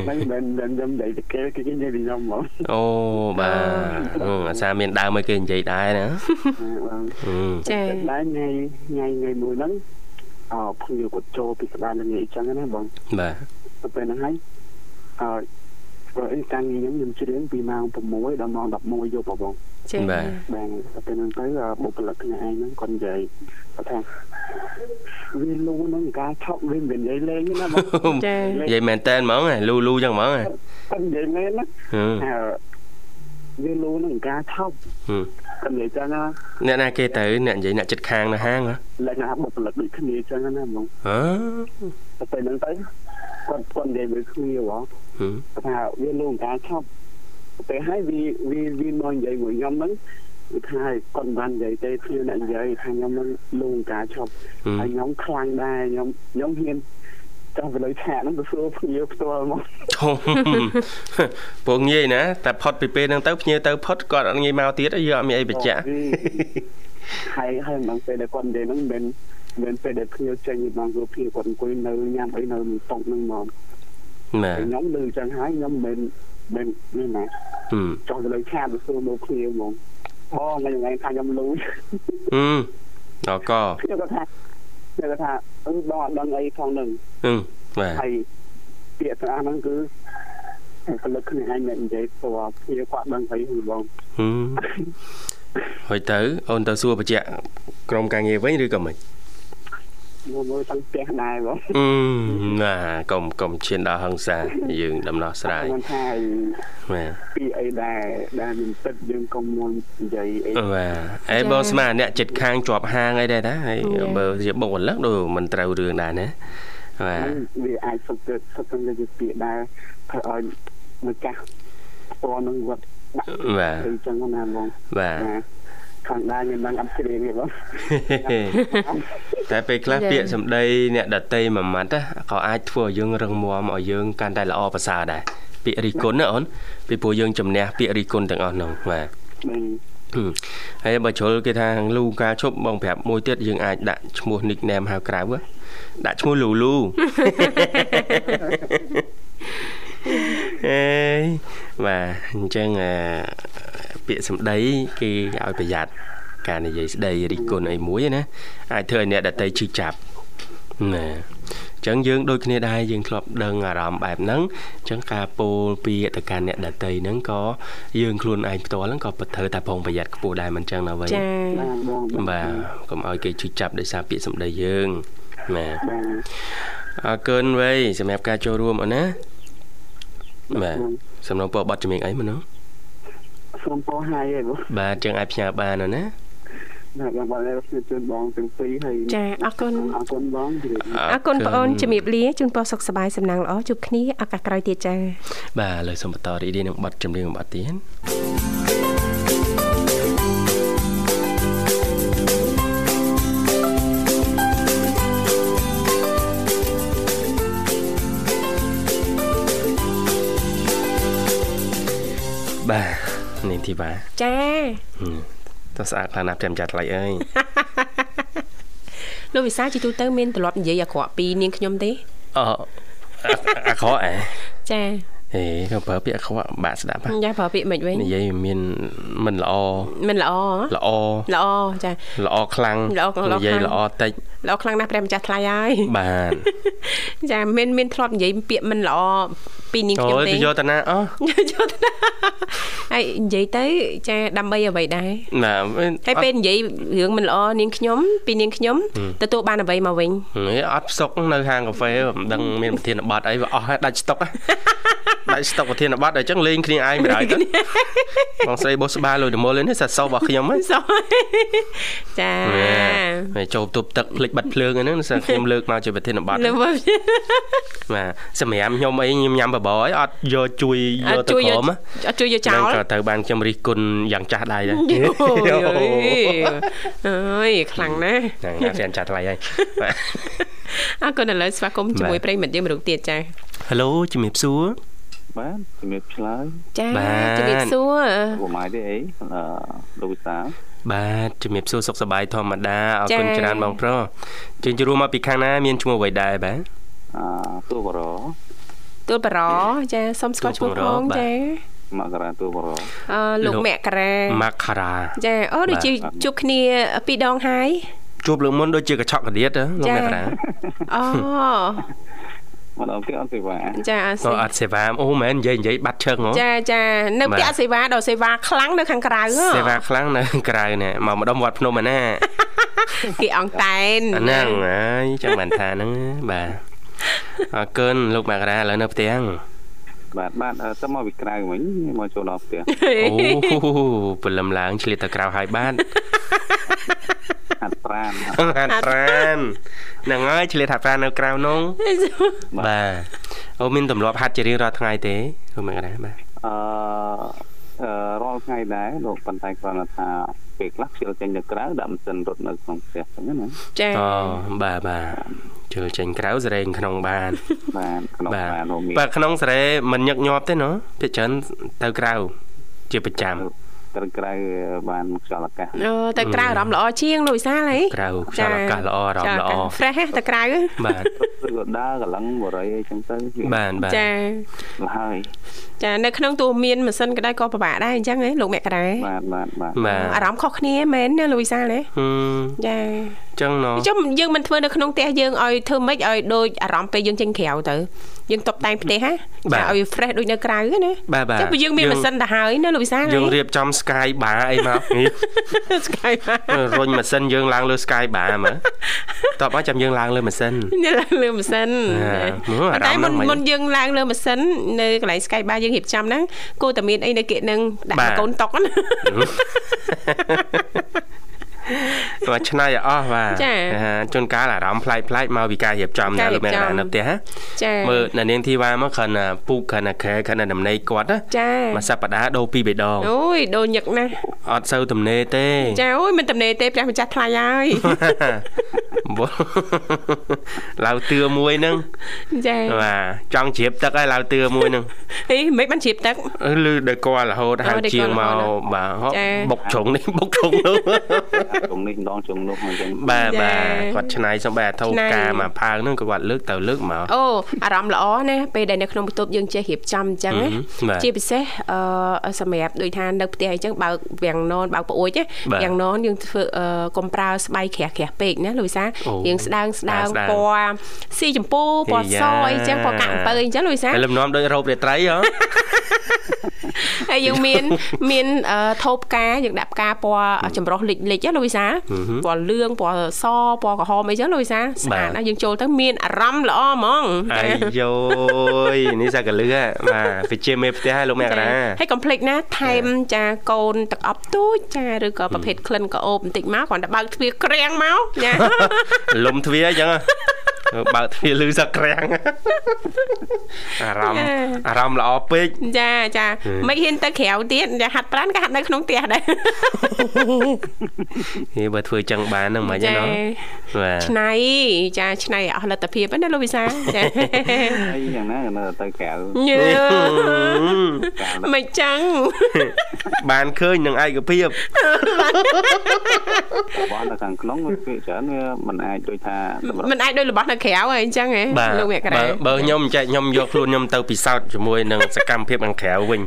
Speaker 6: តែមិនមិនខ្ញុំនិយាយទៅគេគេនិយាយពីខ្ញុំមក
Speaker 4: អូបាទអឺអាសាមានដើមឲ្យគេនិយាយដែរណា
Speaker 6: បាន
Speaker 4: អឺ
Speaker 2: ចា
Speaker 6: ដែរថ្ងៃថ្ងៃថ្ងៃមួយហ្នឹងអោភឿគាត់ចូលពីស្ដានថ្ងៃអញ្ចឹងណាបង
Speaker 4: បាទ
Speaker 6: ទៅពេលហ្នឹងហើយអឺព្រោះអីតាំងពីខ្ញុំខ្ញុំច្រៀងពីម៉ោង6ដល់ម៉ោង11យប់ហ៎បង
Speaker 2: ចា
Speaker 4: បាទ
Speaker 6: បាទទៅពេលហ្នឹងទៅអ่าបុគ្គលិកខ្លួនឯងហ្នឹងគាត់និយាយគាត់ថាវាលូហ្នឹងការឆក់វាមិននិយាយលេងទេណាបង
Speaker 2: ចា
Speaker 4: និយាយមែនតែនហ្មងហ៎លូលូចឹងហ្មងហ៎
Speaker 6: គាត់និយាយលេងណា
Speaker 4: ហឺ
Speaker 6: អឺវាលូហ្នឹងការឆក់
Speaker 4: ហឺ
Speaker 6: គាត់និយាយចឹងណា
Speaker 4: អ្នកណាគេទៅអ្នកនិយាយអ្នកចិត្តខាងនៅហាងហ៎
Speaker 6: លក្ខណៈបុគ្គលិកដូចគ្នាចឹងណាបង
Speaker 4: ហ៎
Speaker 6: ទៅពេលហ្នឹងទៅគាត់គាត់និយាយវាគ្នាហ៎
Speaker 4: ហឺ
Speaker 6: ថាវាលោកការឆប់ទៅហើយវាវាវាមកនិយាយមួយខ្ញុំហ្នឹងគឺថាគាត់មិនបាននិយាយទេគឺអ្នកនិយាយថាខ្ញុំហ្នឹងលោកការឆប់
Speaker 4: ហឹម
Speaker 6: ហើយខ្ញុំខ្លាំងដែរខ្ញុំខ្ញុំហ៊ានចាំទៅលើឆាកហ្នឹងទៅសួរភ្ញៀវផ្ទាល់មក
Speaker 4: ធំ ពួកងាយណាតែផុតពីពេលហ្នឹងទៅភ្ញៀវទៅផុតគាត់អត់ងាយមកទៀតទេយើងអត់មានអីបច្ចៈ
Speaker 6: ហើយហើយមិនពេលដែលគាត់និយាយហ្នឹងមិនមែនមិនពេលដែលភ្ញៀវចេញពីបងគ្រូភ្ញៀវគាត់អង្គុយនៅញ៉ាំអីនៅក្នុងតុហ្នឹងមក
Speaker 4: ណា
Speaker 6: ហើយខ្ញុំលឺចឹងហើយខ្ញុំមិនមិនមិនណា
Speaker 4: ហឹម
Speaker 6: ចង់ទៅលើឆាកទៅសួរមកភ្ញៀវហ្មងបងថ្ងៃហ្នឹងថាខ្ញុំលូ
Speaker 4: ហឹមដល់ក
Speaker 6: ខ្ញុំគាត់ថា
Speaker 5: គេថាអឺបងអត់ដឹងអីផងនឹង
Speaker 4: អឺបាទ
Speaker 5: ហើយពាក្យស្អាហ្នឹងគឺផលិតគ្នាឯងមិននិយាយព្រោះគ្នាគាត់ដឹងអីហ្នឹងបង
Speaker 4: ហឹមហើយទៅអូនទៅសួរបញ្ជាក់ក្រុមការងារវិញឬក៏មិន
Speaker 5: មកមើលទាំងផ្ទះដែរបង
Speaker 4: អឺណាកុំកុំឈានដល់ហឹង្សាយើងដំណោះស្រាយ
Speaker 5: មិនថា
Speaker 4: បាទ
Speaker 5: ពីអីដែរដែលមិនទឹកយើងកុំមុននិយាយអី
Speaker 4: បាទអេបងស្មានអ្នកចិត្តខាងជាប់ហាងអីដែរតាហើយ
Speaker 2: ចា៎
Speaker 4: បើជាបុករលឹកដូចមិនត្រូវរឿងដែរណាបាទ
Speaker 5: វាអាចសុខទៅសុខទៅនិយាយពាក្យដែរធ្វើឲ្យមកកាស់ពណ៌នឹងវត្តបាក់
Speaker 4: បាទ
Speaker 5: អីចឹងណាបង
Speaker 4: បាទ
Speaker 5: ខាងដែរខ្ញុំនឹងអត់ជ្រាប ទេបង
Speaker 4: តែពេលខ្លះ
Speaker 2: ចា៎
Speaker 4: ពាក្យសម្ដីអ្នកដតីមួយម៉ាត់ណាក៏អាចធ្វើឲ្យយើងរឹងមាំឲ្យយើងកាន់តែល្អប្រសើរដែរពាក្យរីគុណណាអូនពីព្រោះយើងជំនះពាក្យរីគុណទាំងអស់ហ្នឹងបា
Speaker 5: បា
Speaker 4: ទ
Speaker 5: ទ
Speaker 4: ហឹមហើយបើជ្រុលគេថាលូការឈប់បងប្រាប់មួយទៀតយើងអាចដាក់ឈ្មោះ nickname ហៅក្រៅហ៎ដាក់ឈ្មោះលូលូ អេយបាទអញ្ចឹងអាពាក្យសម្ដីគេឲ្យប្រយ័ត្នការនិយាយស្ដីរិះគន់អីមួយណាអាចធ្វើឲ្យអ្នកដតីឈឺចាប់ណាអញ្ចឹងយើងដូចគ្នាដែរយើងធ្លាប់ដឹងអារម្មណ៍បែបហ្នឹងអញ្ចឹងការពោលពាក្យទៅកាន់អ្នកដតីហ្នឹងក៏យើងខ្លួនឯងផ្ទាល់ហ្នឹងក៏ពិតត្រូវតែប្រុងប្រយ័ត្នខ្ពស់ដែរមិនអញ្ចឹងណាវិញ
Speaker 2: ចា
Speaker 5: បាទបង
Speaker 4: បាទកុំឲ្យគេឈឺចាប់ដោយសារពាក្យសម្ដីយើងណា
Speaker 5: បាទ
Speaker 4: អរគុណវៃសម្រាប់ការចូលរួមអូនណាបាទសំណងពរប័ណ្ណជំនាញអីមកនោះ
Speaker 5: សូមពោហើយឯងបង
Speaker 4: បាទចឹងអាចផ្ញើបានអូនណា
Speaker 5: បាទបងបានជួយជូនបងទាំងពីរហើយ
Speaker 2: ចាអរគុណ
Speaker 5: អរគុណបងជម្រាបលា
Speaker 2: អរគុណបងអូនជំរាបលាជូនពរសុខសប្បាយសំណាងល្អជួបគ្នាឱកាសក្រោយទៀតចា
Speaker 4: បាទឥឡូវសូមបន្តរីករាយនឹងប័ណ្ណចម្រៀងមួយប័ណ្ណទៀតបាទនាងធីបា
Speaker 2: ចា
Speaker 4: តោះស្អាតខ្លាំងណាស់ព្រមចាត់ថ្លៃអើយ
Speaker 2: លោកវិសាលជីទូទៅមានទម្លាប់និយាយអាក្រក់ពីនាងខ្ញុំទេ
Speaker 4: អអអាក្រក់អេ
Speaker 2: ចា
Speaker 4: ហេទៅប្រើពាក្យអាក្រក់បាក់ស្ដាប់ហ៎
Speaker 2: យ៉ាប្រើពាក្យមិនវិញ
Speaker 4: និយាយមានមិនល្អ
Speaker 2: មិនល្អ
Speaker 4: ល្អ
Speaker 2: ល្អចា
Speaker 4: ល្អខ្លាំង
Speaker 2: ល្អខ្លាំង
Speaker 4: និយាយល្អតិច
Speaker 2: ល្អខ្លាំងណាស់ព្រះម្ចាស់ថ្លៃហើយ
Speaker 4: បាទ
Speaker 2: ចាមានមានធ្លាប់និយាយពាក្យមិនល្អពីនាងខ្ញុំ
Speaker 4: អូយ
Speaker 2: ទេ
Speaker 4: ទៅយកតាណាអោះ
Speaker 2: យល់ទេហើយនិយាយទៅចាដើម្បីអ្វីដែរ
Speaker 4: ណាមិន
Speaker 2: ហើយពេលនិយាយរឿងមិនល្អនាងខ្ញុំពីនាងខ្ញុំទទួលបានអ្វីមកវិញ
Speaker 4: ហេអត់ផ្សុកនៅហាងកាហ្វេមិនដឹងមានប្រធានបတ်អីវាអស់ហើយដាច់ស្តុកហ៎ ដាច់ស្តុកប្រធានបတ်អញ្ចឹងលេងគ្នាឯងមិន ដែរទៅបងស្រីបោះស្បាលលុយដមលនេះសាសោរបស់ខ្ញុំហ៎
Speaker 2: សូមចា
Speaker 4: ហើយចូលទប់ទឹកភ្លេចបាត់ភ្លើងហ្នឹងសាខ្ញុំលើកមកជាប្រធានបတ်
Speaker 2: លើ
Speaker 4: ហ្នឹង
Speaker 2: មក
Speaker 4: បាទសម្រាប់ខ្ញុំអីខ្ញុំញ៉ាំបបរអីអត់យកជួយយក
Speaker 2: អត់
Speaker 4: ទៅ
Speaker 2: ជួយយក
Speaker 4: ក្រុមហ៎
Speaker 2: អត់ជួយយកចោល
Speaker 4: ហ្នឹងក៏ត្រូវបានខ្ញុំរិះគន់យ៉ាងចាស់ដែរដែរ
Speaker 2: អូយ
Speaker 4: អូ
Speaker 2: អើយខ្លាំងណាស់
Speaker 4: ហ្នឹងណាស់រៀនចាស់ថ្លៃហើយបាទ
Speaker 2: អរគុណឥឡូវស្វាគមន៍ជាមួយ
Speaker 4: បាទ
Speaker 2: ប្រិយមិត្តយើងមរុកទៀតចា
Speaker 4: Hello ជំរាបសួរ
Speaker 6: បាទជំរាបឆ្លើយ
Speaker 2: ចា
Speaker 4: បាទ
Speaker 2: ជំរាបសួរ
Speaker 6: ពុកម៉ាយទេអីអឺលោកវិសាល
Speaker 4: បាទជំរាបសួរសុខសប្បាយធម្មតាអរគុណច្រើនបងប្រុសជើងជួមមកពីខាងណាមានឈ្មោះអ្វីដែរបាទ
Speaker 6: អឺទូបរោ
Speaker 2: ទួលបារោចាសូមស្គាល់ឈ្មោះផ
Speaker 4: ទូលបារ
Speaker 2: ង
Speaker 4: បាទ
Speaker 2: ចា
Speaker 6: មករាទូបរោ
Speaker 2: អឺលោក
Speaker 4: លោក
Speaker 2: មករា
Speaker 4: មករា
Speaker 2: ចាអូដូចជាជួបគ្នាពីរដង ហើយ
Speaker 4: ជួបលើកមុនដូចជាកញ្ឆក់កដៀតណា
Speaker 2: ចា
Speaker 4: លោកមករា
Speaker 2: អូ
Speaker 6: មកដល់គេអត់សេវា
Speaker 2: ចាអរ
Speaker 4: ក៏
Speaker 2: សុ
Speaker 4: អត់សេវាអូមែននិយាយនិយាយបាត់ឈឹងហ៎
Speaker 2: ចាចានៅ
Speaker 4: បាទ
Speaker 2: ពាក់សេវាដល់សេវាខ្លាំងនៅខាងក្រៅហ៎
Speaker 4: សេវាខ្លាំងនៅក្រៅណែមកម្ដុំវត្តភ្នំអាណា
Speaker 2: គេអង្តែន
Speaker 4: អាហ្នឹងហើយចាំបានថាហ្នឹងបាទអរគុណលោកមករាឥឡូវនៅផ្ទាំង
Speaker 6: បាទបាទអឺទៅមកពីក្រៅវិញមកចូលដល់ផ្ទះ
Speaker 4: អូព្រលឹមឡើងឆ្លៀតទៅក្រៅហើយបាទ
Speaker 6: អត់ប្រាន
Speaker 4: ហាត់ប្រានហ្នឹងហើយឆ្លៀតហាត់ប្រាននៅក្រៅនោះបាទអូមានទម្លាប់ហាត់ជារៀងរាល់ថ្ងៃទេលោកមកដែរបាទ
Speaker 6: អឺអឺរាល់ថ្ងៃដែរលោកប៉ុន្តែគ្រាន់តែថាពេលខ្លះជិលចេញទៅក្រៅដាក់ម៉ាស៊ីនរត់នៅក្នុងផ្ទះអញ្ចឹងណា
Speaker 2: ចា
Speaker 4: អូបាទបាទជើចេញក្រៅសរេងក្នុងបាន
Speaker 6: បាទក្នុង
Speaker 4: បាទ
Speaker 6: បាននោះមាន
Speaker 4: បាទក្នុងសរេមិនញឹកញាប់ទេណូភាគច្រើនទៅក្រៅជាប្រចាំ
Speaker 6: ត្រូវក្រៅបានខ្យល់អាកាស
Speaker 2: អឺទៅក្រៅអារម្មណ៍ល្អជាងលោកវិសាលហី
Speaker 4: ក្រៅខ្យល់អាកាសល្អអារម្មណ៍ល្អ
Speaker 2: ហ្វ្រេសទៅក្រៅ
Speaker 4: បាទ
Speaker 6: ឬក៏ដើរកន្លឹងបរិយអីចឹងទៅវា
Speaker 4: បាទបាទ
Speaker 2: ចា
Speaker 6: លហើយ
Speaker 2: ចានៅក្នុងទូមានម៉ាស៊ីនក្តៅក៏ពិបាកដែរអញ្ចឹងហ៎លោកមករា
Speaker 6: បាទបាទបាទ
Speaker 4: បាទ
Speaker 2: អារម្មណ៍ខុសគ្នាមែនណាលោកវិសាលណា
Speaker 4: ហឹម
Speaker 2: ចា
Speaker 4: ច ចឹងណ
Speaker 2: ចុះយើងមិនធ្វើនៅក្នុងផ្ទះយើងឲ្យធ្វើម៉េចឲ្យដូចអារម្មណ៍ពេលយើងចេញក្រៅទៅយើងតុបតែងផ្ទះហ
Speaker 4: បា
Speaker 2: ่ា
Speaker 4: ទ
Speaker 2: ឲ្យ fresh ដូចនៅក្រៅហ្នឹងណា
Speaker 4: បាទបាទ
Speaker 2: ចុះបើយើងមាន
Speaker 4: យើង
Speaker 2: ម៉ាស៊ីនទៅហើយណាលោកវិសាល
Speaker 4: យើងរៀប ចំ Sky Bar អីមកនេះ
Speaker 2: ស្កាយមក
Speaker 4: រុញម៉ាស៊ីនយើងឡើងលើ Sky Bar មើលតបមកចាំយើងឡើងលើម៉ាស៊ីន
Speaker 2: នៅលើម៉ាស៊ីន
Speaker 4: អាមើលអា
Speaker 2: ប៉ុ
Speaker 4: រ
Speaker 2: ន្តែ
Speaker 4: ម្មណ៍
Speaker 2: មុន
Speaker 4: ហ្នឹងមិន
Speaker 2: មុនយើងឡើងលើម៉ាស៊ីននៅកន្លែង Sky Bar យើងរៀបចំហ្នឹងគួរតែមានអីនៅគិនឹងដាក់
Speaker 4: បាទ
Speaker 2: ឲ្យកូនតុកណា
Speaker 4: មកឆ្នៃឲ្យអស់បាទ
Speaker 2: ចា
Speaker 4: អាជួនកាលអារម្មណ៍ប្លែកប្លែកមកពីការរៀបចំ
Speaker 2: កា
Speaker 4: ណា
Speaker 2: រ
Speaker 4: លោកមេ
Speaker 2: រៀប
Speaker 4: ណា
Speaker 2: ចំ
Speaker 4: នៅផ្ទះហ៎
Speaker 2: ចា
Speaker 4: មើលណានាងធីវ៉ាមកគ្រាន់តែពូកគ្រាន់តែខែគ្រាន់តែដំណេកគាត់ណា
Speaker 2: ចា
Speaker 4: មួយសប្តាហ៍ដូរពីរបីដង
Speaker 2: អូយដូរញឹកណាស់
Speaker 4: អត់សូវទំនេរទេ
Speaker 2: ចាអូយមិនទំនេរទេព្រះម្ចាស់ថ្លៃហើយ
Speaker 4: បល ឡាវទឿមួយហ្នឹង
Speaker 2: ចា
Speaker 4: បាទចង់ជ្រាបទឹកហើយឡាវទឿមួយហ្នឹង
Speaker 2: អីមិនបានជ្រាបទឹក
Speaker 4: លឺដល់គាត់រហូតហៅ
Speaker 2: ដល់
Speaker 4: ជាងមក
Speaker 2: គាត់រហូត
Speaker 4: បាទហូប
Speaker 2: ចា
Speaker 4: បុកជ្រុងនេះបុកជ្រុងនោះ
Speaker 6: ជុំនេះម្ដងជុំនោះអញ្ចឹង
Speaker 4: បាទ
Speaker 2: ចា
Speaker 4: បាទគាត់ឆ្នៃសំបែអាថោ
Speaker 2: ឆ្នៃ
Speaker 4: ការមកផើងហ្នឹងក៏គាត់លើកទៅលើកមក
Speaker 2: អូអារម្មណ៍ល្អណាស់ពេលដែលនៅក្នុងបន្ទប់យើងចេះរៀបចំអញ្ចឹង
Speaker 4: អឺ
Speaker 2: ណា
Speaker 4: បាទ
Speaker 2: ជាពិសេសអឺសម្រាប់ដូចថានៅផ្ទះអញ្ចឹងបើកវាំងននបើកប្អួយណា
Speaker 4: បាទ
Speaker 2: វាំងននយើងធ្វើអឺកុំប្រើស្បៃក្រាស់ក្រាស់ពេកណាលោកវិសាល
Speaker 4: អូ
Speaker 2: យើងស្ដើងស្ដើង
Speaker 4: ស្ដើង
Speaker 2: ពណ៌ស៊ីចម្ពូពណ៌
Speaker 4: អីយ៉ា
Speaker 2: សអីចឹងពណ៌កាក់អំពើអីចឹងលោកវិសាល
Speaker 4: តែលំនាំដូចរ៉ូបរាត្រីហ៎
Speaker 2: ហើយយើងមាន មានអឺថូផ្កាយើងដាក់ផ្កាពណ៌ចម្រុះលិចលិចណាលោកវិសាលពណ៌លឿងពណ៌សពណ៌ក្រហមអីចឹងលោកវិសាលស្អាត
Speaker 4: បាទ
Speaker 2: ណាស់យើងចូលទៅមានអារម្មណ៍ល្អហ្មង
Speaker 4: អា
Speaker 2: ចា
Speaker 4: យ៉ូយនេះសាកលឺហ៎បាទវាជាមេផ្ទះហើយលោកមេកណា
Speaker 2: ហើយកុំភ្លេចណាថែមចាកូនទឹកអប់ទូចចាឬក៏ប្រភេទក្លិនក៏អូបបន្តិចមកគ្រាន់តែបើកទ្វារក្រាំង មកចា
Speaker 4: លំទ្វារអញ្ចឹងហ៎ ទៅបើកទ្វារលឺសឹកក្រាំង អារ
Speaker 2: ចា
Speaker 4: ម្មណ៍អារម្មណ៍ល្អពេក
Speaker 2: ចាចាមិនហ៊ានទៅក្រៅទៀតចាហាត់ប្រានក៏ហាត់នៅក្នុងផ្ទះដែរ
Speaker 4: ហេបើធ្វើអញ្ចឹងបានហ្នឹងមិនអញ្ចឹងណោះបាទ
Speaker 2: ឆ្នៃចាឆ្នៃអស់លទ្ធភាពហ្នឹងណាលោកវិសាលចា
Speaker 6: ហើយយ៉ាងណានៅទៅក្រៅ
Speaker 2: ញើ
Speaker 6: កាល
Speaker 2: មិនចឹង
Speaker 4: បានឃើញនឹងឯកភាព
Speaker 6: របស់នៅខាងក្នុងវាភាគច្រើនវាមិនអាចដូចថាសម្រាប់
Speaker 2: មិនអាចដូចរបស់នៅក្រៅហើយអញ្ចឹងហ៎
Speaker 4: បាទ
Speaker 2: លោកអ្នកក្រៅ
Speaker 4: បើបើខ្ញុំចែកខ្ញុំយកខ្លួនខ្ញុំទៅពិសោធន៍ជាមួយនឹងសកម្មភាពខាងក្រៅវិញ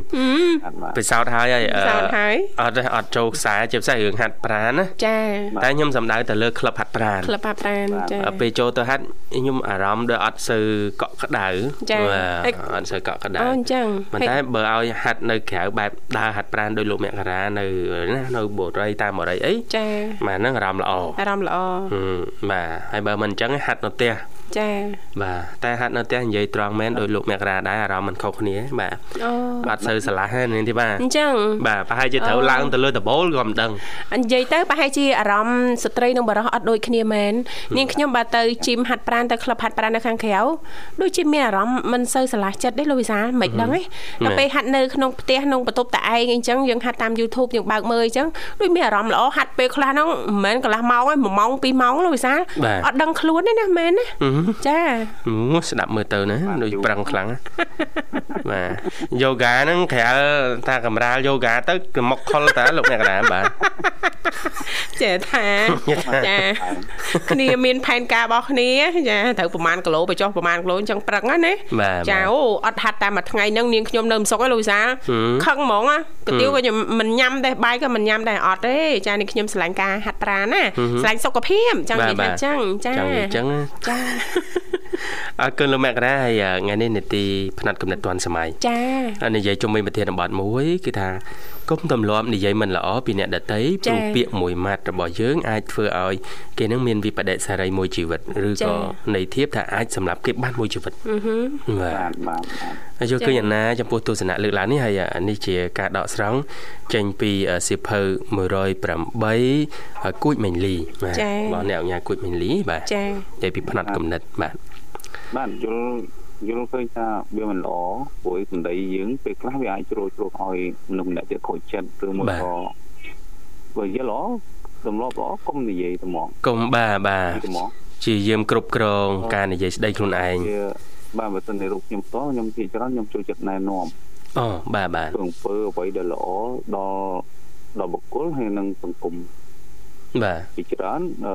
Speaker 6: អត់បាទ
Speaker 4: ពិសោធន៍ហើយហើយអឺ
Speaker 2: សោតហើយ
Speaker 4: អត់ទេអត់ចូលខ្សែជាពិសេសរឿងហាត់ប្រាណណា
Speaker 2: ចា
Speaker 4: តែខ្ញុំសំដៅទៅលើក្លឹបហាត់ប្រាណ
Speaker 2: ក្លឹបហាត់ប្រានចា
Speaker 4: ពេលចូលទៅហាត់ខ្ញុំអារម្មណ៍ដូចអត់សូវកក់ក្ដៅ
Speaker 2: ចា
Speaker 4: បាទ
Speaker 2: អេ
Speaker 4: អត់សូវកក់ក្ដៅ
Speaker 2: អូអញ្ចឹង
Speaker 4: ប៉ុន្តែបើឲ្យហាត់នៅក្រៅបែបដើរហាត់ប្រាណដោយលោកមេការ៉ានៅណានៅបូរីតាមបូរីអី
Speaker 2: ចា
Speaker 4: បាទហ្នឹងអារម្មណ៍ល្អ
Speaker 2: អារម្មណ៍ល្អ
Speaker 4: ហឹមបាទហើយបើមិនអញ្ចឹងហាត់នៅផ្ទះ
Speaker 2: ចា
Speaker 4: បាទតែហាត់នៅផ្ទះនិយាយត្រង់មែនដោយលោកមេក្រាដែរអារម្មណ៍មិនខុសគ្នាបាទ
Speaker 2: អូ
Speaker 4: អត់សូវឆ្លាស់ទេនាងធីបា
Speaker 2: អញ្ចឹង
Speaker 4: បាទប្រហែលជាត្រូវឡើងទៅលើដបូលក៏មិនដឹង
Speaker 2: និយាយទៅប្រហែលជាអារម្មណ៍ស្ត្រីនិងបរិសុទ្ធអត់ដូចគ្នាមែននាងខ្ញុំបើទៅជីមហាត់ប្រាណទៅក្លឹបហាត់ប្រាណនៅខាងក្រៅដូចជាមានអារម្មណ៍មិនសូវស្រឡះចិត្តទេលោកវិសាលមិនដឹងទេដល់ពេលហាត់នៅក្នុងផ្ទះក្នុងបន្ទប់តឯងអីចឹងយើងហាត់តាម YouTube យើងបើកមើលអីចឹងដូចមានអារម្មណ៍ល្អហាត់ពេលខ្លះហ្នឹងមិនមែនកន្លះម៉ោងទេ1ម៉ោង2ម៉ោងលោកវិសាល
Speaker 4: បាទ
Speaker 2: អត់ដឹងខ្លួនទេណាមែនណាចា
Speaker 4: អូស្ដាប់មើលទៅណាដូចប្រឹងខ្លាំង ណាបាទយូហ្គាហ្នឹងក្រៅថាកម្រាលយូហ្គាទៅគឺមកខលតាលោកមេក្រាបាទ
Speaker 2: ចេះថាចាគ្នាមានផែនការរបស់គ្នាចាត្រូវប្រហែលគីឡូបញ្ចុះប្រហែលគីឡូអញ្ចឹងប្រឹងណាណា
Speaker 4: បាទ
Speaker 2: ចា
Speaker 4: បាទ
Speaker 2: អូអត់ហាត់តែមួយថ្ងៃហ្នឹងនាងខ្ញុំនៅមិនសុខទេលោកវិសាល
Speaker 4: ហឹម
Speaker 2: ខឹងហ្មងណាកាទៀវក៏ខ្ញុំមិនញ៉ាំដែរបាយក៏មិនញ៉ាំដែរអត់ទេចានាងខ្ញុំឆ្លាញ់ការហាត់ប្រាណណាឆ្លាញ់សុខភាពចង់និយាយថាចឹងចា
Speaker 4: ចង់និយាយអញ្ចឹងណា
Speaker 2: ចា
Speaker 4: អរគុណលោកមេក្រាហើយអ่าថ្ងៃនេះនេតិផ្នែកកំណត់ទាន់សម័យ
Speaker 2: ចា
Speaker 4: ហើយនិយាយជុំវិញប្រធានបទមួយគឺថាកុំទម្លាប់និយាយមិនល្អពីអ្នកដតី
Speaker 2: ចា៎
Speaker 4: ព្រោះពាក្យមួយម៉ាត់របស់យើងអាចធ្វើឲ្យគេនឹងមានវិបត្តិសារីមួយជីវិតឬ
Speaker 2: ចា៎
Speaker 4: ក៏នៃធៀបថាអាចសម្រាប់គេបានមួយជីវិតបាទ
Speaker 6: បាទបាទបាទ
Speaker 4: ហើយយកឃើញអាណាចំពោះទស្សនៈលើកឡើងនេះហើយអានេះជាការដកស្រង់ចេញពីអឺសៀវភៅ108ហើយគួចមេងលីបាទ
Speaker 2: ចា៎
Speaker 4: របស់អ្នកអញ្ញាគួចមេងលីបាទ
Speaker 2: ចា៎
Speaker 4: និយាយពីផ្នែកកំណត់បាទ
Speaker 6: បាទយល់យល់ឃើញថាវាមិនល្អព្រោះសម្ដីយើងពេលខ្លះវាអាចជ្រុលជ្រុលឲ្យមនុស្សម្នាក់ទៀតខូចចិត្តឬមួយក៏បើយល់ល្អទម្លាប់ល្អកុំនិយាយថ្មង
Speaker 4: កុំបាទបា
Speaker 6: និយាយ
Speaker 4: ទ
Speaker 6: ថ្មង
Speaker 4: ជាយាមគ្រប់គ្រងការនិយាយស្ដីខ្លួនឯង
Speaker 6: វាបាទបើសិនជារូបខ្ញុំផ្ទាល់ខ្ញុំជាច្រើនខ្ញុំចូលចិត្តណែនាំ
Speaker 4: អូបាទបាទ
Speaker 6: ធ្វើអំពើអ្វីដែលល្អដល់ដល់បុគ្គលហើយនិងសង្គម
Speaker 4: បាទ
Speaker 6: ជាច្រើនអឺ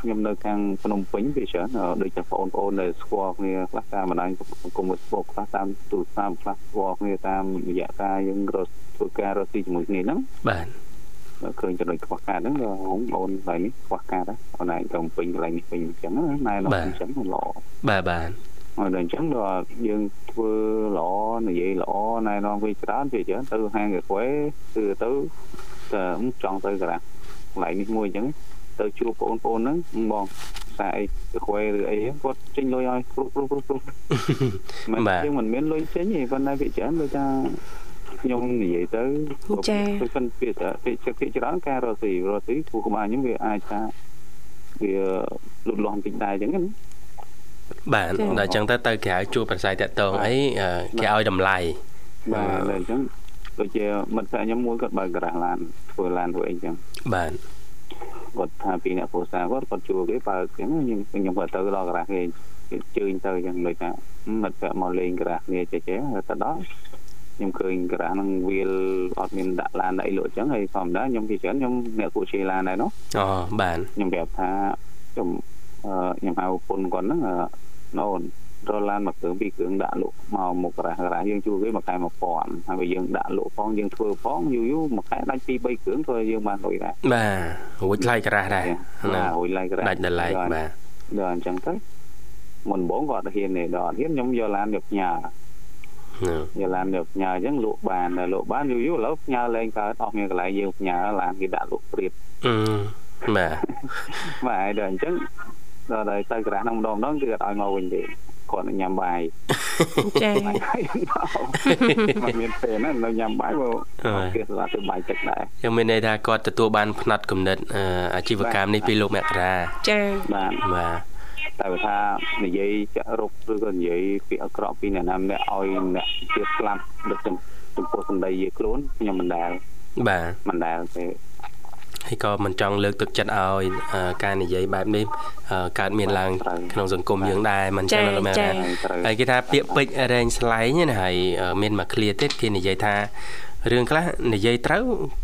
Speaker 6: ខ្ញុំនៅខាងភ្នំពេញវាច្រើនអឺដូចជាបងប្អូននៅស្គាល់គ្នាខ្លះតាមបណ្ដាញសង្គម Facebook ខ្លះតាមទូរស័ព្ទខ្លះស្គាល់គ្នាតាមរយៈការយើងរត់ធ្វើការរត់ទីជាមួយគ្នាហ្នឹង
Speaker 4: បាទ
Speaker 6: ឃើញចំណុចខ្វះខាតហ្នឹងដល់ហងអូនខ្លាំងនេះខ្វះខាតណាអូនឯងត្រូវពេញកន្លែងនេះពេញអញ្ចឹងណាណែនាំ
Speaker 4: បាទ
Speaker 6: អញ្ចឹងមិនល្អ
Speaker 4: បាទបាទ
Speaker 6: ហើយដល់អញ្ចឹងដល់យើងធ្វើល្អនិយាយល្អណែនាំវាច្រើនវាច្រើនទៅហាងកាហ្វេគឺទៅតែចង់ទៅកន្លះកន្លែងនេះមួយអញ្ចឹងទៅជួបបងប្អូនហ្នឹងបងខ្សែអីកាហ្វេឬអីហ្នឹងគាត់ចេញលុយឲ្យព្រុសព្រុសព្រុសព្រុស មិន
Speaker 4: បាទ
Speaker 6: យើងមិនមានលុយចេញទេប៉ុន្តែវាច្រើនដូចថាខ្ញុំនិយាយទៅ
Speaker 2: ចា៎
Speaker 6: គឺប៉ុន្តែវាវាភាគច្រើនការរកស៊ីរកស៊ីគូក្បាលខ្ញុំវាអាចថាវាលូតលាស់បន្តិចដែរអញ្ចឹងណា
Speaker 4: បាទដល់អញ្ចឹងទៅទៅក្រៅជួបប្រស័យតាក់តងអីអឺគេឲ្យតម្លៃ
Speaker 6: បាទឥ
Speaker 4: បាទ
Speaker 6: ឡូវអញ្ចឹងដូចជាមិត្តភក្តិខ្ញុំមួយគាត់បើកការ៉ាស់ឡានធ្វើឡានធ្វើអីអញ្ចឹង
Speaker 4: បាទ
Speaker 6: គាត់ថាពីអ្នកពោសារគាត់គាត់ជួលគេបើកអញ្ចឹងខ្ញុំខ្ញុំគាត់ទៅដល់ការ៉ាស់គេគេជើញទៅអញ្ចឹងដូចថាមិត្តភក្តិមកលេងការ៉ាស់គ្នាចេះចេះទៅដល់ខ្ញុំឃើញការ៉ាស់ហ្នឹងវាលអត់មានដាក់ឡានដាក់អីលក់អញ្ចឹងហើយធម្មតាខ្ញុំពីច្រើនខ្ញុំអ្នកគូជិះឡានដែរនោះ
Speaker 4: អូបាទ
Speaker 6: ខ្ញុំប្រាប់ថាខ្ញុំអឺខ្ញុំហៅប្រពន្ធគាត់ហ្នឹងអឺណូនរកឡានមកគ្រឿងពីរគ្រឿងដាក់លក់មកមុខរ៉ាស់រ៉ាស់យើងជួលគេមួយខែ1000ហើយបើយើងដាក់លក់ផងយើងធ្វើផងយូរយូរមួយខែដាច់ពីរបីគ្រឿងធ្វើឲ្យយើងបានលុយដែរ
Speaker 4: បាទរួចថ្លៃក្រាស់ដែរ
Speaker 6: ណា
Speaker 4: ណា
Speaker 6: ហួយឡាយក៏
Speaker 4: ដាច់ដលៃបាទ
Speaker 6: ដល់អញ្ចឹងទៅមុនដំបងក៏អត់ហ៊ានទេដល់អត់ហ៊ានខ្ញុំយកឡានយកផ្ញើ
Speaker 4: ណា
Speaker 6: យកឡានយកផ្ញើអញ្ចឹងលក់បានដល់លក់បានយូរយូរឥឡូវផ្ញើលែងកើតអស់មានកន្លែងយើងផ្ញើឡានគេដាក់លក់ព្រៀប
Speaker 4: អឺបាទ
Speaker 6: បាទហើយដល់អញ្ចឹងដល់ដល់ទៅក្រាស់ហ្នឹងម្ដងម្ដងគឺអត់ឲ្យមកវិញទេគាត់នឹងញ៉ាំបាយ
Speaker 2: ចា
Speaker 6: បាយហើយមកមិនមានពេលណានៅញ៉ាំបាយមកគេសម្រាប់ទៅបាយទឹកដែរ
Speaker 4: យើងមានន័យថាគាត់ទទួលបានផ្នែកគំនិតអឺអាជីវកម្មនេះពីលោកមករា
Speaker 2: ចា
Speaker 6: បាទ
Speaker 4: បាទ
Speaker 6: តែបើថានិយាយចាក់រុកឬក៏និយាយពាក្យអាក្រក់ពីអ្នកណាម្នាក់ឲ្យអ្នកទៀតស្លាប់ដូចចំចំពោះសម្ដីយាយខ្លួនខ្ញុំមិនដែល
Speaker 4: បាទ
Speaker 6: មិនដែលទេ
Speaker 4: ហើយក៏មិនចង់លើកទឹកចិត្តឲ្យអឺការនិយាយបែបនេះអឺកើតមានឡើងក្នុងសង្គមយើងដែរមិនចឹងណាលោកមករាហើ
Speaker 6: ហើយត្រូវ
Speaker 4: យគេថាពាក្យពេចន៍រែងស្លែងហ្នឹងណាហើយអឺមានមកឃ្លាទៀតគេនិយាយថារឿងខ្លះនិយាយត្រូវ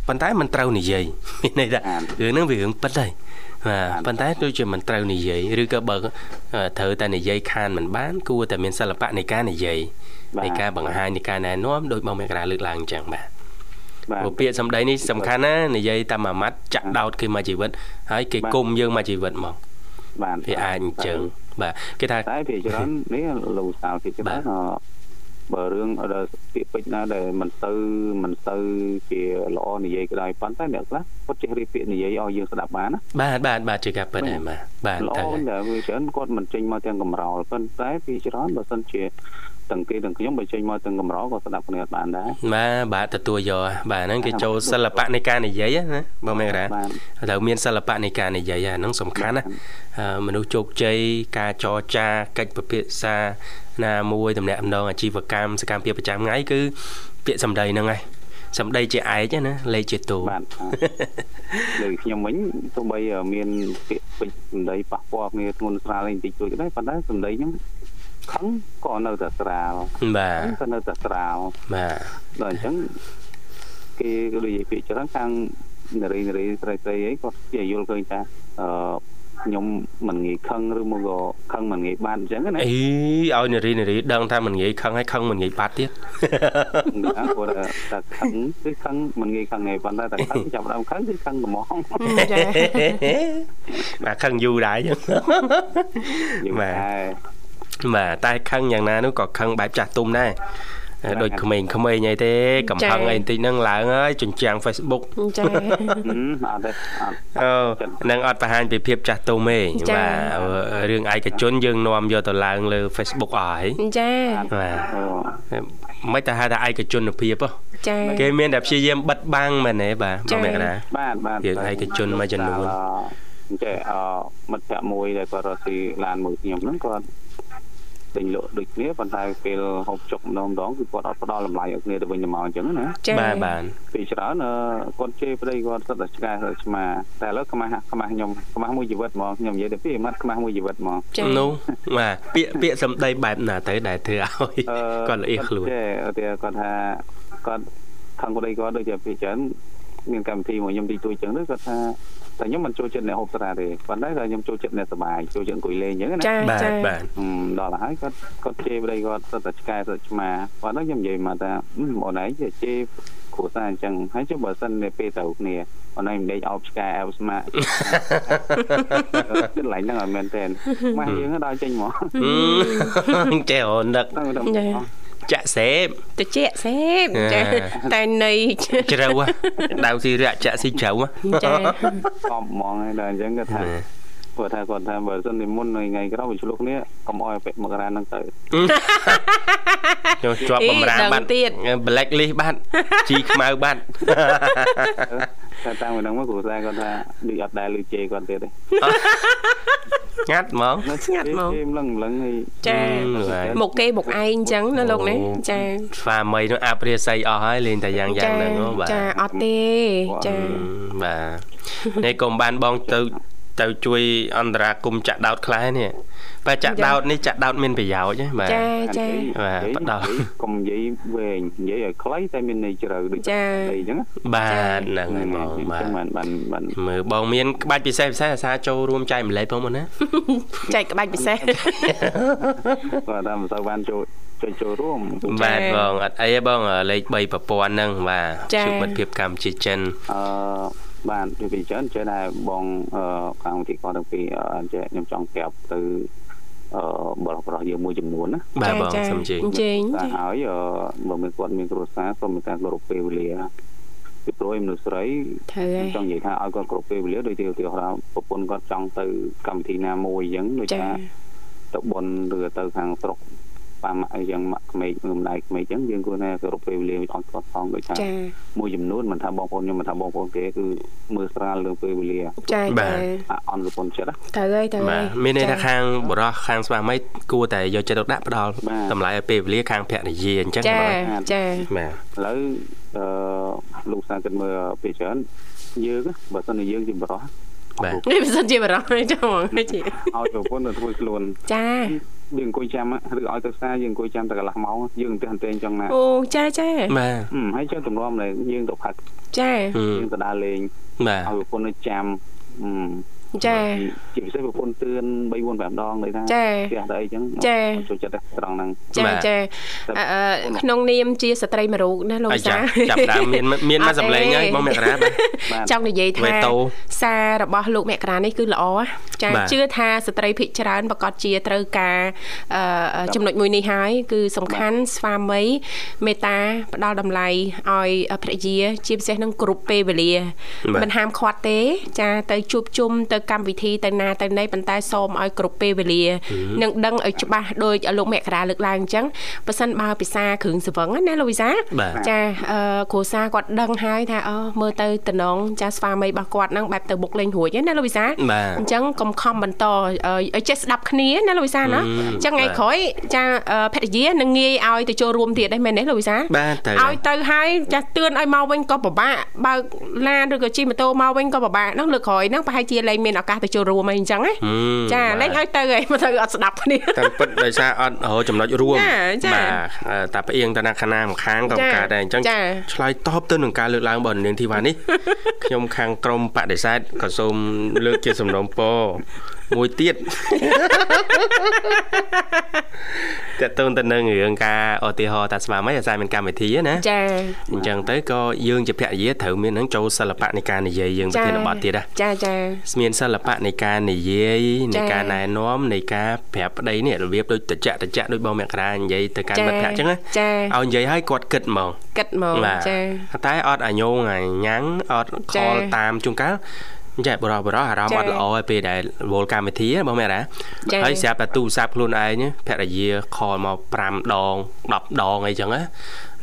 Speaker 4: ប៉ុន្តែមិនត្រូវនិយាយ មានន័យថារឿងហ្នឹងវារឿងពិតហើយបាទប៉ុន្តែដូចជាមិនត្រូវនិយាយឬក៏បើអឺត្រូវតែនិយាយខានមិនបាន គួរតែមានសិល្បៈនៃការនិយាយនៃការបង្ហាញនៃការណែនាំដោយបងមេក្រាលើកឡើងអញ្ចឹងបាទ
Speaker 6: បាទ
Speaker 4: ព្រោះពាក្យសម្ដីនេះសំខាន់ណានិយាយតាមមួយម៉ាត់ចាក់ដោតគេមកជីវិតហើយគេ
Speaker 6: បាទ
Speaker 4: គុំយើងមកជីវិតមក
Speaker 6: បាទ
Speaker 4: វាអាចអញ្ចឹងបាទគេថា
Speaker 6: តែភាគច្រើននេះលោកសាលភាគច្រើនអឺបើរឿងដល់ពាក្យពេចន៍ណាដែលមិនទៅមិនទៅជាល្អនិយាយក្តីប៉ុន្តែអ្នកខ្លះគាត់ចេះរៀបពាក្យនិយាយឲ្យយើងស្ដាប់បានណា
Speaker 4: បាទបាទបាទជាការពិតហើយបាទបាទ
Speaker 6: ល្អ
Speaker 4: ទៅហើយ
Speaker 6: ដែលវាច្រើនគាត់មិនចេញមកទាំងកំរោលប៉ុន្តែភាគច្រើនបើសិនជាទាំងគេទាំងខ្ញុំបើចេញមកទាំងកំរោលក៏ស្ដាប់គ្នាអត់បានដែរ
Speaker 4: បាទបាទទទួលយកបាទហ្នឹងគេចូលសិល្បៈនៃការនិយាយណាបងមេរ៉ា
Speaker 6: បាទ
Speaker 4: ត្រូវមានសិល្បៈនៃការនិយាយអាហ្នឹងសំខាន់ណាអឺមនុស្សជោគជ័យការចរចាកិច្ចពិភាក្សាណាមួយតំណែងអំណងអាជីវកម្មសកម្មភាពប្រចាំថ្ងៃគឺពាក្យសម្ដីហ្នឹងឯងសម្ដីជាឯកណាលេខជាតួ
Speaker 6: បាទលើខ្ញុំវិញទោះបីមានពាក្យពេចន៍សម្ដីប៉ះពាល់គ្នាធ្ងន់ស្រាលអីបន្តិចជួយក៏ដែរប៉ុន្តែសម្ដីខ្ញុំខឹងក៏នៅតែស្រាល
Speaker 4: បាទ
Speaker 6: ក៏នៅតែស្រាល
Speaker 4: បាទ
Speaker 6: ដល់អញ្ចឹងគេក៏និយាយពាក្យច្រើនខាងនារីនារីស្រីស្រីអីគាត់ជាយល់ឃើញថាអឺខ្ញុំមិនងាយខឹងឬមកក៏ខឹងមិនងាយបានអញ្ចឹងណា
Speaker 4: អីឲ្យនារីនារីដឹងថាមិនងាយខឹងហើយខឹងមិនងាយបាត់ ទៀត
Speaker 6: ណាគាត់ថាខឹងគឺខឹងមិនងាយខឹងឯងប៉ុន្តែតែខឹងចាប់ផ្ដើមខឹងគឺខឹងត្មង
Speaker 2: ចា
Speaker 4: បាទខឹងយូរដែរអញ្ចឹ ង
Speaker 6: យើង
Speaker 4: បាទ
Speaker 6: តែ
Speaker 4: បាទតែខឹងយ៉ាងណានោះក៏ខឹងបែបចាស់ទុំដែរ
Speaker 6: បាទ
Speaker 4: ដូចក្មេងៗអីទេកំផឹងអីបន្តិចហ្នឹងឡើងហើយចិញ្ចាំង Facebook
Speaker 2: ចា
Speaker 6: ហ៊ឹមអត់ទេអត់
Speaker 4: អូនឹងអត់បង្ហាញពីភាពចាស់ទុំទេ
Speaker 2: ចា៎
Speaker 4: បាទរឿងឯកជនយើងនាំយកទៅឡើងលើ Facebook អស់ហើយ
Speaker 2: ចា
Speaker 4: បាទ
Speaker 6: អូ
Speaker 4: មិនតែហៅថាឯកជនភាពហ៎
Speaker 2: ចា
Speaker 4: គេមានតែព្យាយាមបិទបាំងមែនទេបាទ
Speaker 2: ចា៎
Speaker 4: បងមេកណា
Speaker 6: បាទបាទ
Speaker 4: យើងឯកជនមួយចំនួន
Speaker 6: អអញ្ចឹងអឺមិត្តភក្តិមួយដែលគាត់រកស៊ីឡានមួយខ្ញុំហ្នឹងគាត់ទិញលក់ដូចគ្នាប៉ុន្តែពេលហូបចុកម្ដងម្ដងគឺគាត់អត់ផ្ដល់តម្លៃឲ្យគ្នាទៅវិញទៅមកអញ្ចឹងណា
Speaker 2: ចា
Speaker 4: បាទបាទ
Speaker 6: ពេលច្រើនអឺគាត់ជេរប្តីគាត់សិតតែឆ្កែសិតតែឆ្មាតែឥឡូវខ្មាស់ខ្មាស់ខ្ញុំខ្មាស់មួយជីវិតហ្មងខ្ញុំនិយាយទៅពីមាត់ខ្មាស់មួយជីវិតហ្មង
Speaker 2: ចា
Speaker 4: នោះបាទពាក្យពាក្យសម្ដីបែបណាទៅដែលធ្វើឲ្យ គាត់ល្អៀខ្លួន
Speaker 6: គាត់ចេះឧទាហរណ៍គាត់ថាគាត់ខាងប្តីគាត់ដូចជាពេលច្រើន មានកម្មវិធីមកខ្ញុំទីទួយចឹងទៅគាត់ថាតែខ្ញុំមិនចូលចិត្តអ្នកហូបស្រាទេប៉ុន្តែតែខ្ញុំចូលចិត្តអ្នកសប្បាយចូលចិត្តអង្គុយលេងចឹងណា
Speaker 2: ចា
Speaker 4: បាទ
Speaker 2: ចា
Speaker 4: បាទ
Speaker 6: ហឹមដល់ហើយគាត់គាត់ជេរប្តីគាត់ទៅតែឆ្កែទៅឆ្មាប៉ុន្តែខ្ញុំនិយាយមកថាហឹមអូនឯងជាជេរគ្រួសារអញ្ចឹងហើយចុះបើសិនតែពេលទៅគ្នាអូនឯងមិនដេកអោបឆ្កែអោបស្មា ចិត្តឡើងហ្នឹងអត់មែនទេម៉ាស់យើងដល់ចេញមក
Speaker 4: ហឹមចេះអូនដឹក
Speaker 6: ហ្នឹងទៅអស់
Speaker 4: ចាក់សេប
Speaker 2: តិចសេប
Speaker 4: ចា
Speaker 2: ចាតែនៃ
Speaker 4: ជ្រៅហ៎ដៅស៊ីរយៈចាក់ស៊ីជ្រៅហ៎
Speaker 2: ចា
Speaker 6: ខំហ្មងហើយដល់អញ្ចឹងគាត់ថា
Speaker 4: ណែ
Speaker 6: គាត់ថាគាត់ថាបើសិននិមន្តនៅថ្ងៃក្រោយវាឆ្លុះគ្នាកុំអោយពាក់មករាហ្នឹងទៅ
Speaker 4: ចូលជាប់
Speaker 2: អី
Speaker 4: បំរាម
Speaker 2: ដឹង
Speaker 4: បាត់
Speaker 2: ទៀត
Speaker 4: black list បាត់ ជីខ្មៅបាត់
Speaker 6: តែតាមពីហ្នឹងមកគ្រូសាស្ត្រគាត់ថាដូចអត់ដែលលឺជេរគាត់ទៀតទេ
Speaker 4: ងាត់ហ្មង
Speaker 2: ស្ងាត់ហ្មង
Speaker 6: ជេរម្លឹងម្លឹងហើយ
Speaker 2: ចា
Speaker 4: ហ្នឹងហើយ
Speaker 2: មកគេមកឯងអញ្ចឹងណាលោកណាចា
Speaker 4: ស្វាមីនោះអាប់រាស័យអស់ហើយលេងតែយ៉ាងយ៉ាងហ្នឹងហ៎បាទ
Speaker 2: ចាអត់ទេចា
Speaker 4: បាទនេះកុំបានបងទៅទៅជួយអន្តរាគមន៍ចាក់ដោតខ្លះនេះបើចាក់
Speaker 2: ចា
Speaker 4: ដោតនេះចាក់ដោតមានប្រយោជន៍ហ៎បាទ
Speaker 2: ចាចា
Speaker 4: បាទផ្ដោត
Speaker 6: កុំនិយាយវែងនិយាយឲ្យខ្លីតែមានន័យជ្រៅដូច
Speaker 2: ចា
Speaker 6: អីចឹង
Speaker 4: បាទហ្នឹងហើយបងបាទ
Speaker 6: ហ្នឹងបានបានបាន
Speaker 4: មើលបងមានក្បាច់ពិសេសពិសេសអាសាចូលរួមចែកម្លែកផងមកណា
Speaker 2: ចែកក្បាច់ពិសេស
Speaker 6: គាត់ថាមិនសូវបានចូលចូលចូលរួម
Speaker 4: បាទ
Speaker 2: ចា៎
Speaker 4: បងអត់អីទេបងលេខ3ប្រព័ន្ធហ្នឹងបាទ
Speaker 2: ចា៎
Speaker 4: ជួបមិត្តភាពកម្ពុជាចិន
Speaker 6: អឺបាននិយាយពីច្រើនចេះតែបងអឺខាងវិទ្យាករទាំងពីរអឺចេះខ្ញុំចង់ប្រាប់ទៅអឺបរិបរោះយើងមួយចំនួនណា
Speaker 4: បាទបងសុំជើង
Speaker 2: អញ្ជើញ
Speaker 6: តែហើយអឺបើមានគាត់មានគ្រួសារសូមមានការគោរពពេលវេលាពីព្រោះឯមនុស្សស្រី
Speaker 2: ត្រូវហើយ
Speaker 6: ចង់និយាយថាឲ្យគាត់គោរពពេលវេលាដូចទីឧទាហរណ៍ប្រពន្ធគាត់ចង់ទៅកម្មវិធីណាមួយអញ្ចឹងដូច
Speaker 2: ចា
Speaker 6: ថាទៅបនឬទៅខាងស្រុកប៉ាម៉ាក់អីយ៉ាងម៉ាក់ក្មេកមើលម្ដាយក្មេកអញ្ចឹងយើងគួរតែគោរពពេលវេលាឲ្យគាត់ផងដូចថា
Speaker 2: ចា
Speaker 6: មួយចំនួនមិនថាបងប្អូនខ្ញុំមិនថាបងប្អូនគេគឺមើលស្រាលលើពេលវេលា
Speaker 2: ចាចា
Speaker 6: អអន់ប្រពន្ធចិត្តណា
Speaker 2: ត្រូវហើយត្រូវ
Speaker 4: បា
Speaker 2: ហើ
Speaker 4: ទ
Speaker 2: យ
Speaker 4: មានន័យ
Speaker 2: ចា
Speaker 4: ថាខាងបរោះខាងស្វាមីគួរតែយកចិត្តទុកដាក់ផ្ដល់
Speaker 6: បាទ
Speaker 4: តម្លៃឲ្យពេលវេលាខាងភរិយាអញ្ចឹង
Speaker 2: ចា
Speaker 4: បង
Speaker 2: ចា
Speaker 4: បាទ
Speaker 6: ឥឡូវអឺលោកសាស្ត្រគិតមើលពីច្រើនយើងណាបើសិនជាយើងជាបរោះ
Speaker 4: បាទ
Speaker 2: នេះមិនសិនជាបារម្ភទេ ចង់ ហ្មងជី
Speaker 6: ឲ្យប្រពន្ធ ទៅធ្វើខ្លួន
Speaker 2: ចា
Speaker 6: យើងអង្គុយចាំឬឲ្យទៅផ្សារយើងអង្គុយចាំតែកន្លះម៉ោងយើងទៅតែងចង់ណា
Speaker 2: អូចាចា
Speaker 4: បាទ
Speaker 6: ហឹមហើយចង់ទម្រាំតែយើងទៅផឹក
Speaker 2: ចា
Speaker 4: ហឹម
Speaker 6: យើងទៅដើរលេង
Speaker 4: បាទ
Speaker 6: ឲ្យប្រពន្ធទៅចាំហឹម
Speaker 2: ចា
Speaker 6: ជាពិសេសប្រពន្ធទឿន3 4 5ដងដូចថា
Speaker 2: ចា
Speaker 6: ផ្ទះទៅអីចឹង
Speaker 2: ចា
Speaker 6: ចូលចិត្តតែត្រង់ហ្នឹង
Speaker 2: ចាចាអឺក្នុងនាមជាស្ត្រីមួយរូបណាលោក
Speaker 4: អាយ៉ា
Speaker 2: សា
Speaker 4: ចាប់ដើមមានមានមកសម្លេងហើយបងមករាបាទ
Speaker 2: ចង់និយាយ
Speaker 4: វេ
Speaker 2: ថា
Speaker 4: តូ
Speaker 2: សាររបស់លោកមេក្រានេះគឺល្អណាស់ចា
Speaker 4: បាទ
Speaker 2: ជឿថាស្ត្រីភិកច្រើនប្រកាសជាត្រូវការអឺចំណុចមួយនេះហើយគឺសំខាន់ស្វាមីមេត្តាផ្ដល់តម្លៃឲ្យភរិយាជាពិសេសនឹងគ្រប់ពេលវេលា
Speaker 4: បាទ
Speaker 2: មិនហាមឃាត់ទេ ចាទៅជួបជុំទៅកម្មវិធីទៅណាទៅណីប៉ុន្តែសូមឲ្យគ្រប់ពេលវេលានឹងដឹងឲ្យច្បាស់ដោយលោកមេក្រាលើកឡើងអញ្ចឹងប៉ះសិនបើភាសាគ្រឿងសង្វឹងណាលោកវិសា
Speaker 4: បាទ
Speaker 2: ចាអឺគ្រួសារគាត់ដឹងហើយថាអឺមើលទៅតំណងចាស្វាមីរបស់គាត់ហ្នឹងបែបទៅបុកលេងរួចហ្នឹងណាលោកវិសា
Speaker 4: បាទ
Speaker 2: អញ្ចឹងកុំខំបន្តអឺឲ្យចេះស្ដាប់គ្នាណាលោកវិសាណា
Speaker 4: អឺ
Speaker 2: អញ្ចឹងថ្ងៃ
Speaker 4: បាទ
Speaker 2: ក្រោយចាអឺភរិយានឹងងាយឲ្យទៅចូលរួមទៀតដែរមែនទេលោកវិសា
Speaker 4: បាទត្រូវ
Speaker 2: ឲ្យទៅហើយចាស់ទឿនឲ្យមកវិញក៏ពិបាកបើកឡានឬក៏ជិះម៉ូតូមកវិញក៏ពិបាកហ្នឹងលើកក្រោយហ្នឹងប្រហែលជាលែងមានឱកាសទៅចូលរួមអីអញ្ចឹងណា
Speaker 4: ហឹម
Speaker 2: ចា
Speaker 4: បាទ
Speaker 2: លែងឲ្យទៅឯងមកទៅអត់ស្ដាប់គ្នា
Speaker 4: តាមពិតដោយសារអត់រកចំណុចរួម
Speaker 2: ចាចា
Speaker 4: បាទតែផ្អៀងទៅណាខាងណាម្ខាងក៏
Speaker 2: ចា
Speaker 4: កើតដែរអញ្ចឹង
Speaker 2: ចា
Speaker 4: ឆ្លើយតបទៅនឹងការលើកឡើងរបស់នាងធីវ៉ា នេះ ខ្ញុំខាងក្រមបដិសេធក៏សូមលើកជាសំណូមពរ មួយទៀត តើតើតទៅនឹងរឿងការឧទាហរណ៍តាស្វាមីអាសាមានកម្មវិធីហ្នឹងណា
Speaker 2: ចា
Speaker 4: អញ្ចឹងទៅក៏យើងជាភរិយាត្រូវមានហ្នឹងចូលសិល្បៈនៃការនិយាយយើង
Speaker 2: ចា
Speaker 4: ប្រធានបទទៀតដែរ
Speaker 2: ចាចា
Speaker 4: ស្មានសិល្បៈនៃការនិយាយ
Speaker 2: ចា៎
Speaker 4: នៃការណែនាំនៃការប្រាប់ប្តីនេះរបៀបដូចតចៈតចៈដូចបងមករានិយាយទៅកាន់
Speaker 2: ចា៎
Speaker 4: មិត្តភ័ក្តិអញ្ចឹងណា
Speaker 2: ចា៎
Speaker 4: ឲ្យនិយាយឲ្យគាត់គិតហ្មង
Speaker 2: គិតមក
Speaker 4: បាទ
Speaker 2: ចា
Speaker 4: តែអត់អាយងអាញ៉ាំងអត់ខ
Speaker 2: ចា៎
Speaker 4: លតាមជួនកាលអញ្ចឹងបរោះបរោះអារម្មណ៍
Speaker 2: ចា៎
Speaker 4: អត់ល្អឲ្យពេលដែលវល់កម្មវិធីណាបងមេរា
Speaker 2: ចា៎
Speaker 4: ហើយស្រាប់តែទូរស័ព្ទខ្លួនឯងណាភរិយាខលមក5ដង10ដងអីចឹងណា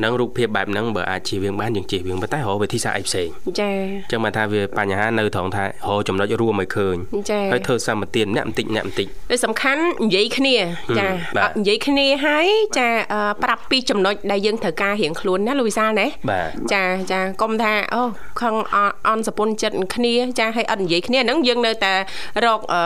Speaker 4: នឹងរូបភាពបែបហ្នឹងបើអាចជៀសវាងបានយើងជៀសវាងប៉ុន្តែរកវិធីសាស្ត្រអីផ្សេង
Speaker 2: ចា
Speaker 4: អញ្ចឹងបានថាវាបញ្ហានៅត្រង់ថារកចំណុចរួមឲ្យឃើញ
Speaker 2: ចា
Speaker 4: ហើយធ្វើសម្បទានអ្នកបន្តិចអ្នកបន្តិច
Speaker 2: ដែលសំខាន់និយាយគ្នា ចា
Speaker 4: បាទ
Speaker 2: អត់និយាយគ្នាហើយចាអឺប្រាប់ពីចំណុចដែលយើងត្រូវការរៀងខ្លួនណាលូវីសាណា
Speaker 4: បាទ
Speaker 2: ចាចាកុំថាអូខឹងអអន់សពុនចិត្តនឹងគ្នា ចាឲ្យ អត់និយាយគ្នាហ្នឹងយើងនៅតែរកអឺ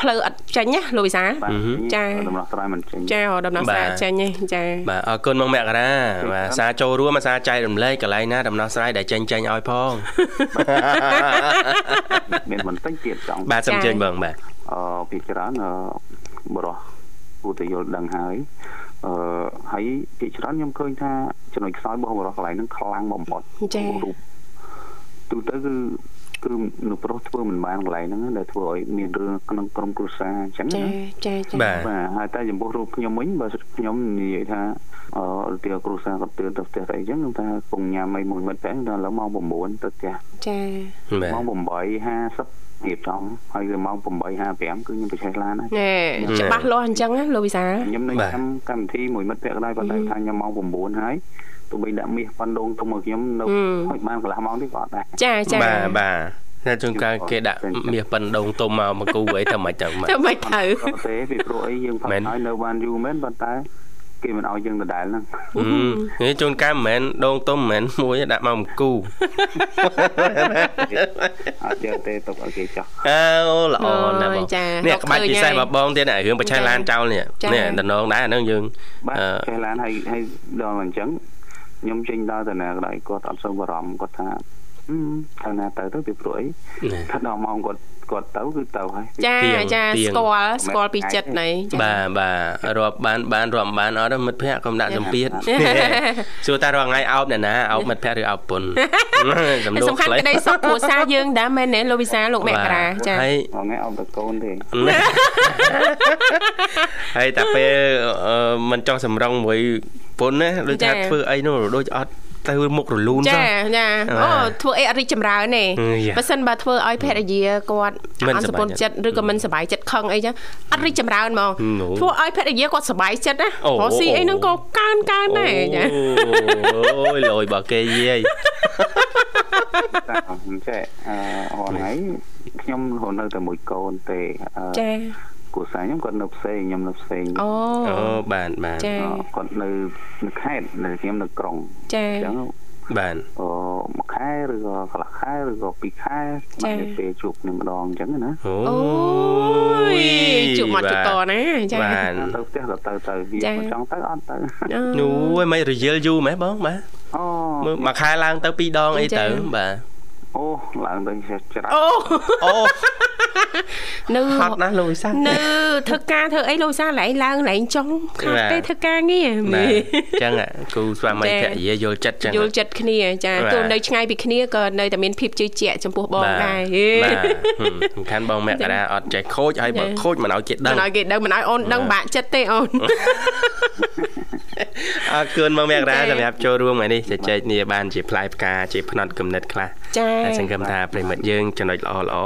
Speaker 2: ផ្លូវអត់ចាញ់ណាលោកវិសាល
Speaker 7: បាទ
Speaker 2: ចា៎
Speaker 7: ដំណោះស្រាយមិនចេញ
Speaker 2: ចាដំណោះស្រាយ
Speaker 4: បាទ
Speaker 2: ចាញ់ឯងចា
Speaker 4: បាទអរគុណមកមករា បាទអាសាចូលរួមអាសាចែករំលែកកន្លែងណាដំណោះស្រាយដែលចេញចេញឲ្យផង
Speaker 7: មានបន្តិចទៀតចង់
Speaker 4: បាទសូមអញ្ជើញបងបាទ
Speaker 7: អឺពីច្រើនអឺបរោះគួរតែយល់ដឹងហើយអឺហើយពីច្រើនខ្ញុំឃើញថាចំណុចខ្សោយរបស់បរោះកន្លែងហ្នឹងខ្លាំងបំផុត
Speaker 2: ចា
Speaker 7: ក្នុងរូបទូទៅគឺគឺនៅប្រុសធ្វើមិនបានកន្លែងហ្នឹងដែលធ្វើឲ្យមានរឿងក្នុងក្រុមគ្រួសារអញ្ចឹង
Speaker 2: ចា
Speaker 7: ណា
Speaker 2: ចាចា
Speaker 4: បាទ
Speaker 7: បាទហើយតែចំពោះរូបខ្ញុំវិញបើខ្ញុំនិយាយថាអឺទីគ្រូសាស្ត្រគាត់ទឿនទៅផ្ទះតែអីចឹងខ្ញុំថាកុំញ៉ាំអីមួយមិត្តតែដល់ឡើងម៉ោង9ទៅផ្ទះ
Speaker 2: ចា
Speaker 4: បាទ
Speaker 7: ម៉ោង8:50រៀបចំហើយគឺម៉ោង8:55គឺខ្ញុំទៅឆេះឡានហើយ
Speaker 2: ណែច្បាស់លាស់អញ្ចឹងណាលោកវិសាល
Speaker 7: ខ្ញុំនៅញ៉ាំកម្មវិធីមួយមិត្តភក្តិក៏ដែរប៉ុន្តែថាញ៉ាំម៉ោង9ហើយទោះបីដាក់មាសប៉ាន់ដងទៅមកខ្ញុំនៅហូចបានកន្លះម៉ោងទៀតក៏អត់ដែរ
Speaker 2: ចាចា
Speaker 4: បាទបាទតែជួនកាលគេដាក់មាសប៉ិនដងទុំមកមកគូអីទៅមិនទៅមក
Speaker 2: ទៅមិនទៅ
Speaker 7: អត់ទេពីព្រោះអីយើងផឹកហើយនៅបានយូរមែនប៉ុន្តែគេមិនឲ្យយើងដដែល ហ្នឹង
Speaker 4: ហឹមនេះជួនកាលមិនមែនដងទុំមិនមែនមួយទេដាក់មកមក គូ
Speaker 7: អត់យកទេទុកឲ្យគេចោះ
Speaker 4: អើអូល្អណាស់បង
Speaker 2: ចា
Speaker 4: នេះក្បាច់
Speaker 2: រកឃើញ
Speaker 4: ពិសេសប
Speaker 2: ហើយ
Speaker 4: បបងទៀតណារឿងប្រឆាំងឡានចោលនេះ
Speaker 2: ចា៎
Speaker 4: នេះតំណងដែរអាហ្នឹងយើង
Speaker 7: បាទ
Speaker 4: អឺ
Speaker 7: ចេះឡានហើយហើយដល់អញ្ចឹងខ្ញុំចេញដល់តាណាក៏ដោយគាត់អត់សូវបា រម្ភគាត់ថា
Speaker 6: Ừ,
Speaker 7: ហឹមថាណាទៅទៅពីព្រោះអី
Speaker 4: ណែ
Speaker 7: ថាដល់ម៉ោងគាត់គាត់ទៅគឺទៅហើយ
Speaker 2: ចា
Speaker 4: ទៀង
Speaker 2: ចា
Speaker 4: ទៀង
Speaker 2: ស្គាល់ស្គាល់ពីចិត្តណៃចា
Speaker 4: បាទបាទរាប់បានបានរាប់មិនបានអត់ទេមិត្តភក្តិកុំដាក់សម្ពាធ សួរតែរាល់ថ្ងៃអោបអ្នកណាអោបមិត្តភក្តិឬអោប ប្រពន្ធ សំ
Speaker 2: សំខាន់ក្តីសុខគ្រួសារយើងដែរមែនទេលោកវិសាលលោកមករាចា
Speaker 4: ហើយ
Speaker 7: ថ្ងៃអត់តកូនទេ
Speaker 4: ហើយតែពេលអឺមិនចង់សម្រងមួយពុនណាដូចថាធ្វើអីនោះដូចអត់ទៅមុខរលូន
Speaker 2: ចាចា
Speaker 4: ទៅបាទ
Speaker 2: អូធ្វើអីអត់រីកចម្រើនទេ
Speaker 4: អឺយ៉ា
Speaker 2: បើសិនបើធ្វើឲ្យភរិយាគាត់
Speaker 4: មិន
Speaker 2: អត់សុខចិត្តឬក៏មិនសប្បាយចិត្តខឹងអីចឹងអត់រីកចម្រើនហ្មង
Speaker 4: ណូ
Speaker 2: ធ្វើឲ្យភរិយាគាត់សប្បាយចិត្តណា
Speaker 4: អូ
Speaker 2: ព្រោះស៊ីអីហ្នឹងក៏កើនកើនដែរចា
Speaker 4: អូយលយបើគេយាយ
Speaker 7: តែមិនចេះអឺថ្ងៃខ្ញុំរស់នៅតែមួយកូនទេអឺ
Speaker 2: ចា
Speaker 7: គ្រួសារខ្ញុំគាត់នៅផ្សេងខ្ញុំនៅផ្សេង
Speaker 2: អូ
Speaker 4: អូបានបាន
Speaker 2: ចា
Speaker 7: អឺគាត់នៅនៅខេត្តនៅខ្ញុំនៅក្រុង
Speaker 2: ចា
Speaker 7: អញ្ចឹង
Speaker 4: បាន
Speaker 7: អឺមួយខែឬក៏កន្លះខែឬក៏ពីរខែបានតែពេលជួបគ្នាម្ដងអញ្ចឹងណា
Speaker 4: អូ
Speaker 2: អូយជួបមកជួបតណាចា
Speaker 4: បាន
Speaker 7: ទៅផ្ទះក៏ទៅទៅវា
Speaker 2: ចា
Speaker 7: មិនចង់ទៅអត់ទៅ
Speaker 4: អូយមិនរយលយូរម៉េះបងបាទ
Speaker 7: អូ
Speaker 4: មើលមួយខែឡើងទៅពីរដងអីទៅបាទ
Speaker 7: អូឡើងទៅចេះច្រាប់
Speaker 2: អូ
Speaker 4: អូ
Speaker 2: នៅ
Speaker 4: ហត់ណាស់លោកវិសាល
Speaker 2: នៅធ្វើការធ្វើអីលោកវិសាឡែងឡើងឡែងចង់ខា
Speaker 4: បា
Speaker 2: ត់
Speaker 4: ទ
Speaker 2: ទេធ្វើការងារ
Speaker 4: បាទ
Speaker 2: នេះ
Speaker 4: អញ្ចឹងអាគូស្វាមី
Speaker 2: ចា៎
Speaker 4: ភរិយាយល់ចិត្ត អញ្ចឹង
Speaker 2: យល់ចិត្តគ្នាចា
Speaker 4: បាទ
Speaker 2: ទោះនៅឆ្ងាយពីគ្នាក៏នៅតែមានភាពជឿជាក់ចំពោះបងដែរហេ
Speaker 4: បាទហឹមសំខាន់បងមករាអត់ចេះខូចហើយបើខូចមិនឲ្យគេដឹង
Speaker 2: មិនឲ្យគេដឹងមិនឲ្យអូនដឹងបាក់ចិត្តទេអូន
Speaker 4: អរគុណបងមករា
Speaker 2: ចា៎
Speaker 4: សម្រាប់ចូលរួមថ្ងៃនេះជជែកគ្នាបានជាផ្លែផ្កាជាផ្នត់គំនិតខ្លះ
Speaker 2: ចា៎
Speaker 4: ហើយសង្ឃឹមថាប្រិមិត្តយើងចំណុចល្អល្អ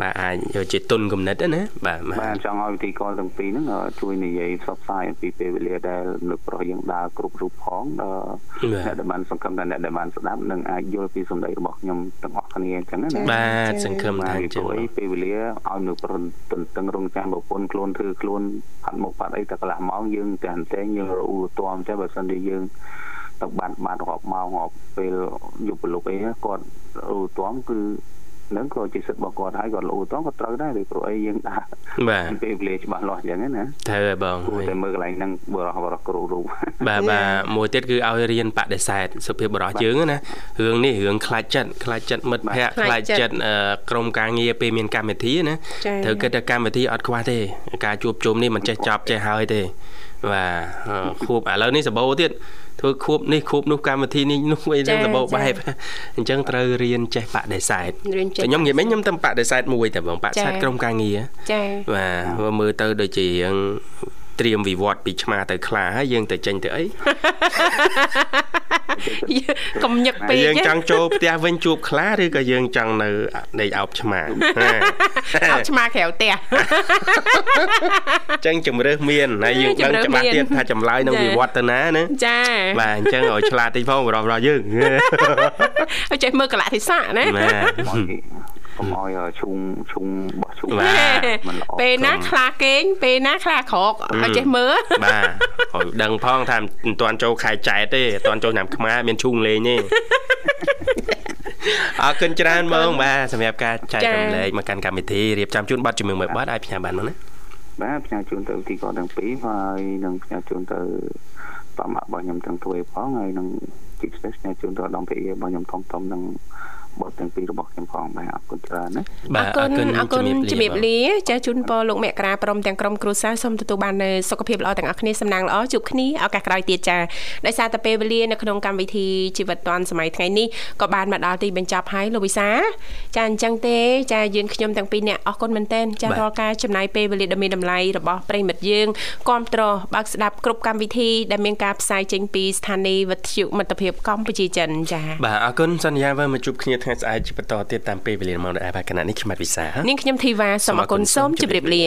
Speaker 4: បាទអាចយកជាទុនគំនិតណាបាទបាទ
Speaker 7: បានចង់ឲ្យវិធីកលទាំងពីរហ្នឹងអឺជួយនិយាយផ្សព្វផ្សាយអំពីពេលវេលាដែលលោកប្រុសយើងដើរគ្រប់រូបផងដល់អ្នកដែលបានសង្ឃឹមថាអ្នកដែលបានស្ដាប់នឹងអាចយល់ពីសម្ដីរបស់ខ្ញុំទាំងអស់គ្នាអញ្ចឹងណាណា
Speaker 4: បាទសង្ឃឹមថា
Speaker 7: បាទ
Speaker 4: អញ្ចឹង
Speaker 7: ជួយពេលវេលាឲ្យនៅប្រនទន្ទឹងរង់ចាំប្រពន្ធខ្លួនធ្វើខ្លួនផាត់មុខផាត់អីតែកន្លះម៉ោងយើងតែហន្តែងយើងរអ៊ូរទាំចេះបើមិនទេយើងទៅបាត់បាត់រាប់ម៉ោងរាប់ពេលយប់ព្រលប់អីហ្នឹងគាត់រអ៊ូរទាំគឺនឹងក៏ជាសិទ្ធិរបស់គាត់ហើយគាត់រអ៊ូរទាំក៏ត្រូវដែរពីព្រោះអីយើងដាក់
Speaker 4: បាទ
Speaker 7: ពេលវេលាច្បាស់លាស់អញ្ចឹងណា
Speaker 4: ត្រូវហើយបង
Speaker 7: គួរតែមើលកន្លែងហ្នឹងបរោះបរោះគ្រូរូប
Speaker 4: បាទបាទមួយទៀតគឺឲ្យរៀនបដិសេធសុភាពបរោះយើងណារឿងនេះរឿងខ្លាចចិត្តខ្លាចចិត្តមិត្តភ័ក្តិ
Speaker 2: ខ្លាច
Speaker 4: ខ្លាច
Speaker 2: ចិត្ត
Speaker 4: ចិត្តអឺក្រុមការងារពេលមានកម្មវិធីណា
Speaker 2: ចា៎
Speaker 4: ត្រូវគិតថាកម្មវិធីអត់ខ្វះទេការជួបជុំនេះមិនចេះចប់ចេះហើយទេ បាទអឺខួបឥឡូវនេះសបោទៀតធ្វើខួបនេះខួបនោះកម្មវិធីនេះនោះអីហ្នឹង
Speaker 2: ចា៎
Speaker 4: សបោបែ
Speaker 2: ចា៎
Speaker 4: ប អញ្ចឹងត្រូវរៀនចេះបដិសេធ
Speaker 2: រៀនចេះ
Speaker 4: តែខ្ញុំនិយាយមិញខ្ញុំតែបដិសេធមួយតែបងបដិសេធ
Speaker 2: ចា៎
Speaker 4: ក្រុមការងារ
Speaker 2: ចា
Speaker 4: បាទមើលមើលទៅដូចជារឿងត្រៀមវិវត្តពីឆ្មាទៅខ្លាហើយយើងទៅចេញទៅអី
Speaker 2: កំញឹកពេក
Speaker 4: យើង
Speaker 2: ទេ
Speaker 4: ច ង់ចូលផ្ទះវិញជួបខ្លាឬក៏យើងចង់នៅនៃអោបឆ្មា
Speaker 2: អោបឆ្មាក្រៅផ្ទះ
Speaker 4: អ ញ្ចឹងជំរឿសមានហើយយើងដឹង
Speaker 2: ជម្រើស
Speaker 4: ច្បាស់
Speaker 2: មាន
Speaker 4: ទៀតថាចម្លើយនឹង
Speaker 2: ចា៎
Speaker 4: វិវត្តទៅណាណា
Speaker 2: ចា
Speaker 4: បាទអញ្ចឹងឲ្យឆ្លាតតិចផងបរោះៗយើង
Speaker 2: ឲ្យចេះមើលកលៈទេសៈណា
Speaker 4: ណា
Speaker 7: កុំឲ្យឈុំឈុំបោះឈុំ
Speaker 4: បាទ
Speaker 7: មិនល្អ
Speaker 2: ពេលណា
Speaker 4: កុំ
Speaker 2: ខ្លាគេងពេលណាខ្លាក្រកឲ្យចេះមើល
Speaker 4: បាទឲ្យដឹងផងថាមិនទាន់ចូលខែចែកទេមិនទាន់ចូលឆ្នាំខ្មែរមានឈូងលេងទេ អរគុណច្រើនហ្មងបាទសម្រាប់ការចែករំលែកមកកាន់កម្មវិធីរៀបចំជូនប័ណ្ណជំនឿមួយប័ណ្ណឲ្យផ្សាយបានមកណា
Speaker 6: បាទផ្សាយជូនទៅទីកោទាំងពីរហើយនឹងផ្សាយជូនទៅតាមរបស់ខ្ញុំទាំងទ្វេផងហើយនឹងទីផ្សេងផ្សាយជូនទៅដល់ពីរបស់ខ្ញុំធំធំនឹងបទទាំងពីររបស់ខ្ញុំផងបាទអរគុណច្រើនណា
Speaker 2: អរគុណអរគុណជំរាបលាចាជូនពរលោកមេក្រាព្រមទាំងក្រុមគ្រួសារសូមទទួលបាននូវសុខភាពល្អទាំងអស់គ្នាសំណាងល្អជួបគ្នាឱកាសក្រោយទៀតចាដោយសារតែពេលវេលានៅក្នុងកម្មវិធីជីវិតឌွန်សម័យថ្ងៃនេះក៏បានមកដល់ទីបញ្ចប់ហើយលោកវិសាចាអញ្ចឹងទេចាយើងខ្ញុំទាំងពីរអ្នកអរគុណមែនទែនចារាល់ការចំណាយពេលវេលាដ៏មានតម្លៃរបស់ប្រិមិត្តយើងគ្រប់ត្របើកស្ដាប់គ្រប់កម្មវិធីដែលមានការផ្សាយចេញពីស្ថានីយ៍វិទ្យុមិត្តភាពកម្ពុជាចិនចា
Speaker 4: បាទអរគុណសន្យាវិញមកជួបគ្នាថ្ងៃស្អែកជាបន្តទៀតតាមពេលវេលាម៉ោងដែលបាទគណៈនេះខ្ញុំបាទវិសា
Speaker 2: នាងខ្ញុំធីវ៉ាសូមអរគុណសូមជម្រាបលា